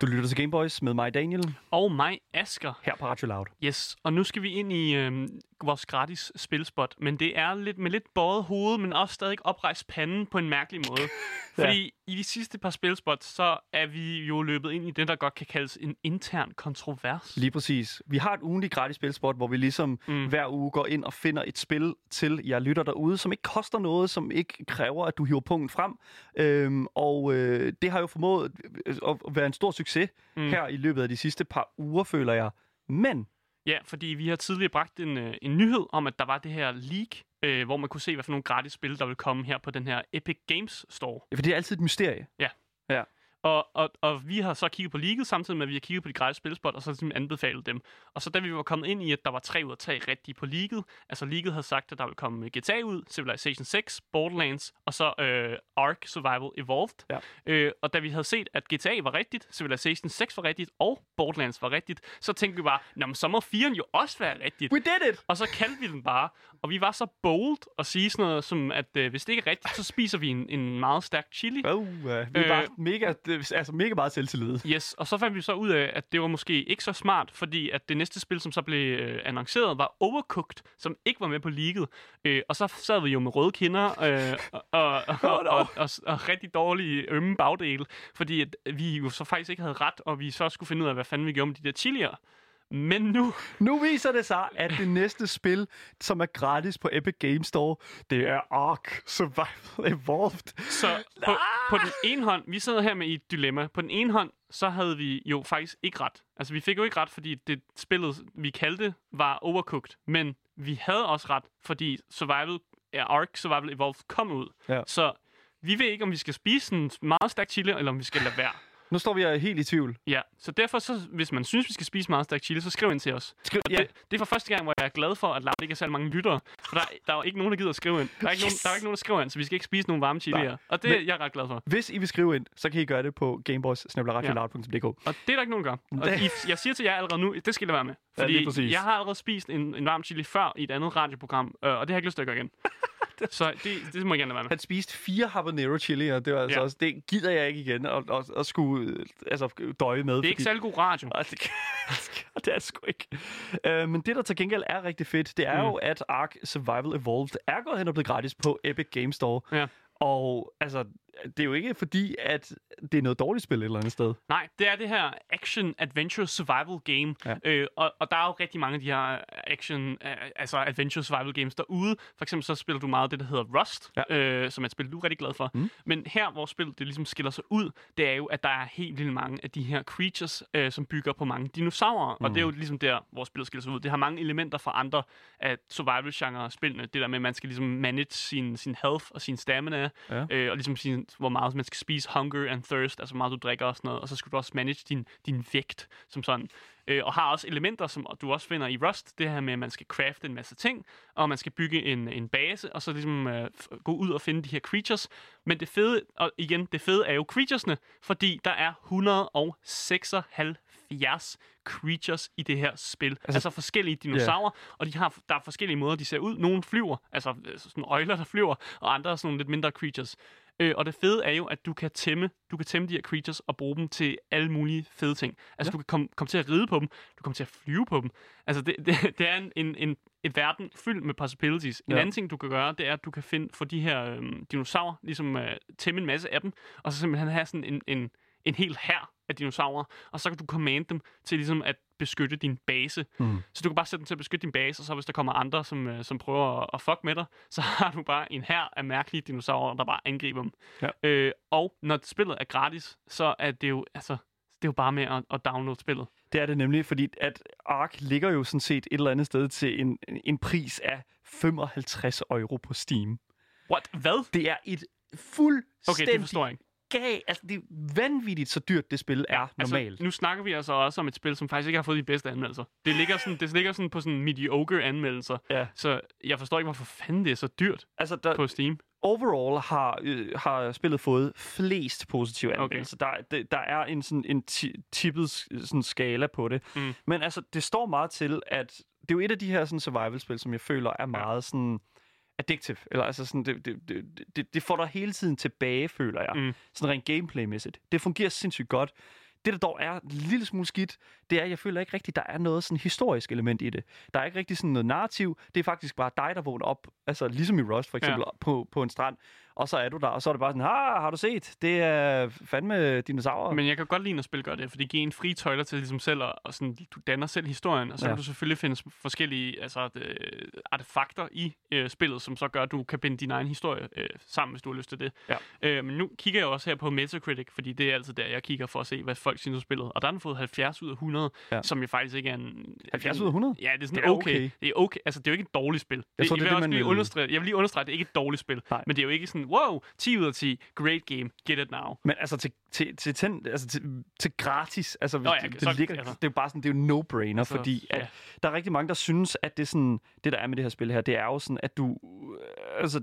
Du lytter til Gameboys med mig, Daniel,
Og mig, Asker.
her på Radio Loud.
Yes, og nu skal vi ind i øh, vores gratis spilspot, men det er lidt med lidt bøjet hoved, men også stadig oprejst panden på en mærkelig måde. Fordi i de sidste par spilspots, så er vi jo løbet ind i det, der godt kan kaldes en intern kontrovers.
Lige præcis. Vi har et ugenligt gratis spilspot, hvor vi ligesom mm. hver uge går ind og finder et spil til jer lytter derude, som ikke koster noget, som ikke kræver, at du hiver punkten frem. Øhm, og øh, det har jo formået øh, at være en stor succes mm. her i løbet af de sidste par uger, føler jeg. Men
Ja, fordi vi har tidligere bragt en, øh, en nyhed om, at der var det her leak, øh, hvor man kunne se, hvad for nogle gratis spil, der ville komme her på den her Epic Games Store.
for det er altid et mysterie.
Og, og, og vi har så kigget på leaget samtidig med, at vi har kigget på de gratis spilspot, og så simpelthen anbefalet dem. Og så da vi var kommet ind i, at der var tre ud af tre rigtige på leaget, altså leaget havde sagt, at der ville komme GTA ud, Civilization 6, Borderlands, og så øh, Ark Survival Evolved.
Ja.
Øh, og da vi havde set, at GTA var rigtigt, Civilization 6 var rigtigt, og Borderlands var rigtigt, så tænkte vi bare, Nå, men så må 4'eren jo også være rigtigt.
We did it!
Og så kaldte vi den bare. Og vi var så bold at sige sådan noget som, at øh, hvis det ikke er rigtigt, så spiser vi en, en meget stærk chili.
Oh, uh, vi er
Øh.
øh... bare mega, det- altså mega meget selvtillid.
Yes, og så fandt vi så ud af, at det var måske ikke så smart, fordi at det næste spil, som så blev øh, annonceret, var Overcooked, som ikke var med på leaget. Øh, og så sad vi jo med røde kinder øh, og, og, og, og, og, og rigtig dårlige ømme bagdele, fordi at vi jo så faktisk ikke havde ret, og vi så skulle finde ud af, hvad fanden vi gjorde med de der chilier. Men nu...
Nu viser det sig, at det næste spil, som er gratis på Epic Games Store, det er Ark Survival Evolved.
Så på, på den ene hånd, vi sidder her med i et dilemma. På den ene hånd, så havde vi jo faktisk ikke ret. Altså, vi fik jo ikke ret, fordi det spillet, vi kaldte, var overcooked. Men vi havde også ret, fordi Survival, ja, Ark Survival Evolved kom ud.
Ja.
Så vi ved ikke, om vi skal spise en meget stærk chili, eller om vi skal lade være.
Nu står vi øh, helt i tvivl.
Ja, så derfor, så, hvis man synes, vi skal spise meget stærk chili, så skriv ind til os.
Skriv,
Og det, det er for første gang, hvor jeg er glad for, at Loud ikke er særlig mange lyttere. For der, der er jo ikke nogen, der gider at skrive ind. Der er ikke, yes. nogen, der er ikke nogen, der skriver ind, så vi skal ikke spise nogen varme chilier. Og det er jeg ret glad for.
Hvis I vil skrive ind, så kan I gøre det på gameboys
Og det er der ikke nogen, der gør. Og
Det-
I, jeg siger til jer allerede nu, det skal I lade være med.
Ja, lige
Fordi
præcis.
jeg har allerede spist en, en varm chili før i et andet radioprogram, øh, og det har jeg ikke lyst til at gøre igen. Så det, det må jeg gerne lade være med.
Han spiste fire habanero chili, og det var altså
Ja.
ja. også, det gider jeg ikke igen at, at, at skulle øh, altså, døje med.
Det er ikke særlig god radio.
Ej, det, kan- det er sgu ikke. Øh, men det, der til gengæld er rigtig fedt, det er mm. jo, at Ark Survival Evolved er gået hen og blevet gratis på Epic Games Store.
Ja.
Og altså, det er jo ikke fordi, at det er noget dårligt spil et eller andet sted.
Nej, det er det her action-adventure-survival-game.
Ja.
Ja. Øh, og, og der er jo rigtig mange af de her action, øh, altså adventure-survival-games derude. For eksempel så spiller du meget det, der hedder Rust, ja. øh, som er et spil, du er rigtig glad for. Mm. Men her, hvor spillet det ligesom skiller sig ud, det er jo, at der er helt vildt mange af de her creatures, øh, som bygger på mange dinosaurer. Mm. Og det er jo ligesom der, hvor spillet skiller sig ud. Det har mange elementer fra andre af survival-genre-spillene. Det der med, at man skal ligesom manage sin, sin health og sin stamina,
Ja.
ja. øh, og ligesom sin, hvor meget man skal spise, hunger and thirst, altså hvor meget du drikker og sådan noget, og så skal du også manage din, din vægt som sådan. Øh, og har også elementer, som du også finder i Rust, det her med, at man skal crafte en masse ting, og man skal bygge en, en base, og så ligesom øh, f- gå ud og finde de her creatures. Men det fede, og igen, det fede er jo creaturesne, fordi der er 176 creatures i det her spil. Altså, altså forskellige dinosaurer, yeah. og de har, der er forskellige måder, de ser ud. Nogle flyver, altså øh, sådan øjler, der flyver, og andre er sådan nogle lidt mindre creatures. Øh, og det fede er jo, at du kan tæmme, du kan tæmme de her creatures og bruge dem til alle mulige fede ting. Altså, ja. du kan komme kom til at ride på dem, du kommer til at flyve på dem. Altså, det, det, det er en, en, en, en verden fyldt med possibilities. En
Ja.
ja. anden ting, du kan gøre, det er, at du kan finde, få de her øh, dinosaurer, ligesom øh, tæmme en masse af dem, og så simpelthen have sådan en, en, en hel hær af dinosaurer, og så kan du commande dem til ligesom at beskytte din base. Mm. Så du kan bare sætte dem til at beskytte din base, og så hvis der kommer andre, som, øh, som prøver at, at fuck med dig, så har du bare en hær af mærkelige dinosaurer, der bare angriber dem.
Ja.
Øh, og når spillet er gratis, så er det jo, altså, det er jo bare med at, at downloade spillet.
Det er det nemlig, fordi at Ark ligger jo sådan set et eller andet sted til en, en pris af 55 euro på Steam.
What? Hvad?
Det er et
Okay,
fuldstændig
det forstår jeg ikke.
gav, altså det er vanvittigt, så dyrt det spil er normalt.
Altså, nu snakker vi altså også om et spil, som faktisk ikke har fået de bedste anmeldelser. Det ligger sådan, det ligger sådan på sådan mediocre anmeldelser.
Ja.
Så jeg forstår ikke, hvorfor fanden det er så dyrt
Altså, der,
på Steam.
overall har, øh, har spillet fået flest positive
Okay.
anmeldelser. Okay. Der, det- der er en, sådan, en ti- tippet s- sådan, skala på det. Mm. Men altså, det står meget til, at det er jo et af de her sådan, survival-spil, som jeg føler er meget sådan addictive. Eller altså sådan, det, det, det, det, det får dig hele tiden tilbage, føler jeg. Mm. Sådan rent gameplaymæssigt. Det fungerer sindssygt godt. Det, der dog er en lille smule skidt, det er, at jeg føler ikke rigtigt, der er noget sådan historisk element i det. Der er ikke rigtig sådan noget narrativ. Det er faktisk bare dig, der vågner op, altså ligesom i Rust for eksempel, ja. på, på en strand. Og så er du der, og så er det bare sådan, ah, har du set? Det er fandme dinosaurer.
Men jeg kan godt lide, når spil gør det, for det giver en fri tøjler til ligesom selv, at- og sådan, du danner selv historien, og så
Ja.
ja. kan du selvfølgelig finde s- forskellige altså, øh, artefakter i øh, spillet, som så gør, at du kan binde din egen historie øh, sammen, hvis du har lyst til det.
Ja.
Øh, men nu kigger jeg også her på Metacritic, fordi det er altid der, jeg kigger for at se, hvad folk synes om spillet. Og der har den fået 70 ud af 100,
Ja.
ja. som jo faktisk ikke er en...
70 ud af 100?
Ja, det er sådan
Det er
okay.
okay.
okay. Det er okay. Altså, det er jo ikke et dårligt spil. Jeg,
tror, det er
vil
det,
også
man
lige
vil-
understrege, jeg vil lige understrege, at det er ikke et dårligt spil.
Nej.
Men det er jo ikke sådan, wow, 10 ud af 10, great game, get it now.
Men altså til, til, til, ten, altså til, til gratis, altså hvis
Nå ja,
det, det,
så-
ligger,
altså.
det er jo bare sådan, det er jo no-brainer, altså, fordi at,
ja.
der er rigtig mange, der synes, at det, sådan, det der er med det her spil her, det er jo sådan, at du, øh, altså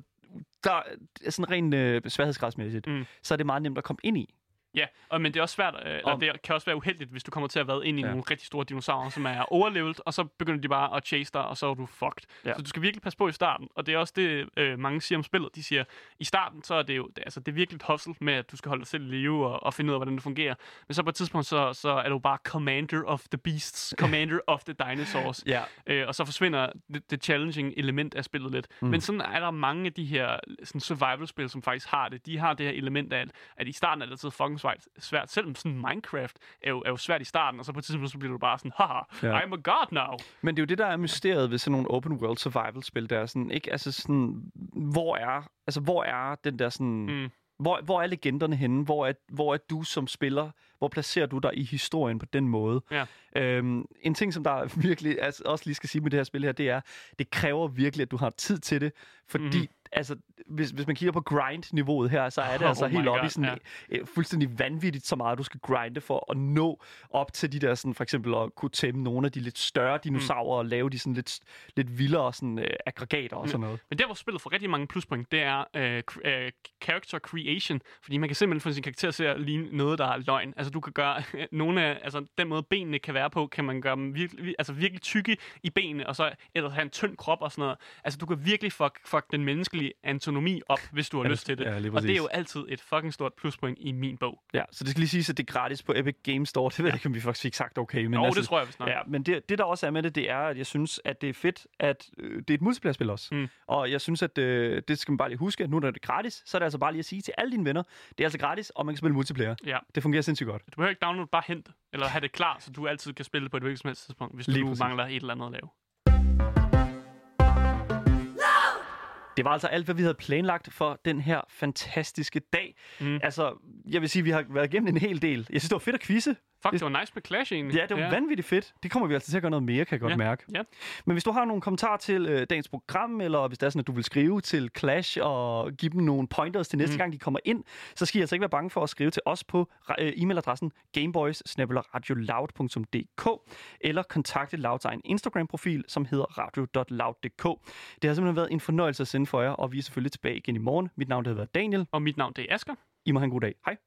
der er sådan rent øh, sværhedsgradsmæssigt, mm.
Mm.
så er det meget nemt at komme ind i.
Ja, og, men det er også svært, øh,
Om-
og det kan også være uheldigt, hvis du kommer til at være ind i
Ja.
ja. nogle rigtig store dinosaurer, som er overlevet, og så begynder de bare at chase dig, og så er du fucked.
Ja.
Ja. Så du skal virkelig passe på i starten, og det er også det, øh, mange siger om spillet. De siger, i starten, så er det jo det, altså, det er virkelig et hustle med, at du skal holde dig selv i live og, og finde ud af, hvordan det fungerer. Men så på et tidspunkt, så, så er du bare commander of the beasts, commander of the dinosaurs.
Ja.
Øh, og så forsvinder det, det challenging element af spillet lidt. Mm. Men sådan er der mange af de her sådan survival-spil, som faktisk har det. De har det her element af, at- at i starten er det altid fucking svært. svært. Selvom sådan Minecraft er jo, er jo svært i starten, og så på et tidspunkt så bliver du bare sådan, haha,
Ja.
ja. I'm a god now.
Men det er jo det, der er mysteriet ved sådan nogle open world survival spil, der er sådan, ikke? Altså sådan, hvor er, altså hvor er den der sådan, mm.
Mm.
hvor, hvor er legenderne henne? Hvor er, hvor er du som spiller? Hvor placerer du dig i historien på den måde?
Ja.
Øhm, en ting, som der virkelig altså, også lige skal sige med det her spil her, det er, det kræver virkelig, at du har tid til det, fordi
Mhm.
mm. Altså, hvis, hvis man kigger på grind-niveauet her, så er det
Oh
altså
my
helt oppe i
God,
sådan
ja.
øh, fuldstændig vanvittigt, så meget du skal grinde for at nå op til de der, sådan, for eksempel at kunne tæmme nogle af de lidt større dinosaurer
Mm.
og lave de sådan lidt, lidt vildere sådan, øh, aggregater og sådan noget.
Men der, hvor spillet får rigtig mange pluspoint, det er øh, cr- øh, character creation. Fordi man kan simpelthen få sin karakter til at ligne noget, der er løgn. Altså, du kan gøre nogle af... Altså, den måde, benene kan være på, kan man gøre dem virkelig, altså, virkelig tykke i benene, og så ellers have en tynd krop og sådan noget. Altså, du kan virkelig fuck, fuck den menneskelige forskellige antonomi op, hvis du har
Ja,
lyst til det.
ja, lige
og det er
præcis.
jo altid et fucking stort pluspoint i min bog.
Ja, så det skal lige siges, at det er gratis på Epic Games Store. Det ved jeg ikke, om vi faktisk fik sagt okay. Men altså
Nå, det tror jeg, vi snakker.
Ja, men det, det, der også er med det, det er, at jeg synes, at det er fedt, at øh, det er et multiplayer-spil også.
Mm.
Og jeg synes, at øh, det skal man bare lige huske, at nu når det er gratis, så er det altså bare lige at sige til alle dine venner, det er altså gratis, og man kan spille multiplayer.
Ja.
Det fungerer sindssygt godt.
Du behøver ikke downloade, bare hente eller have det klar, så du altid kan spille det på et hvilket som helst tidspunkt, hvis du
Lige
nu
præcis.
mangler et eller andet at lave.
Det var altså alt, hvad vi havde planlagt for den her fantastiske dag. Mm. Altså, jeg vil sige, at vi har været igennem en hel del. Jeg synes, det var fedt at quizze.
Fuck, det var nice med Clash egentlig.
Ja, det var ja. vanvittigt fedt. Det kommer vi altså til at gøre noget mere, kan jeg godt
Ja.
mærke.
Ja.
Men hvis du har nogle kommentarer til øh, dagens program, eller hvis det er sådan, at du vil skrive til Clash og give dem nogle pointers til næste mm. gang, de kommer ind, så skal I altså ikke være bange for at skrive til os på øh, e-mailadressen gameboys eller kontakte Louds egen Instagram-profil, som hedder radio.loud.dk. Det har simpelthen været en fornøjelse at sende for jer, og vi er selvfølgelig tilbage igen i morgen. Mit navn det har været Daniel.
Og mit navn, det er Asger.
I må have en god dag. Hej.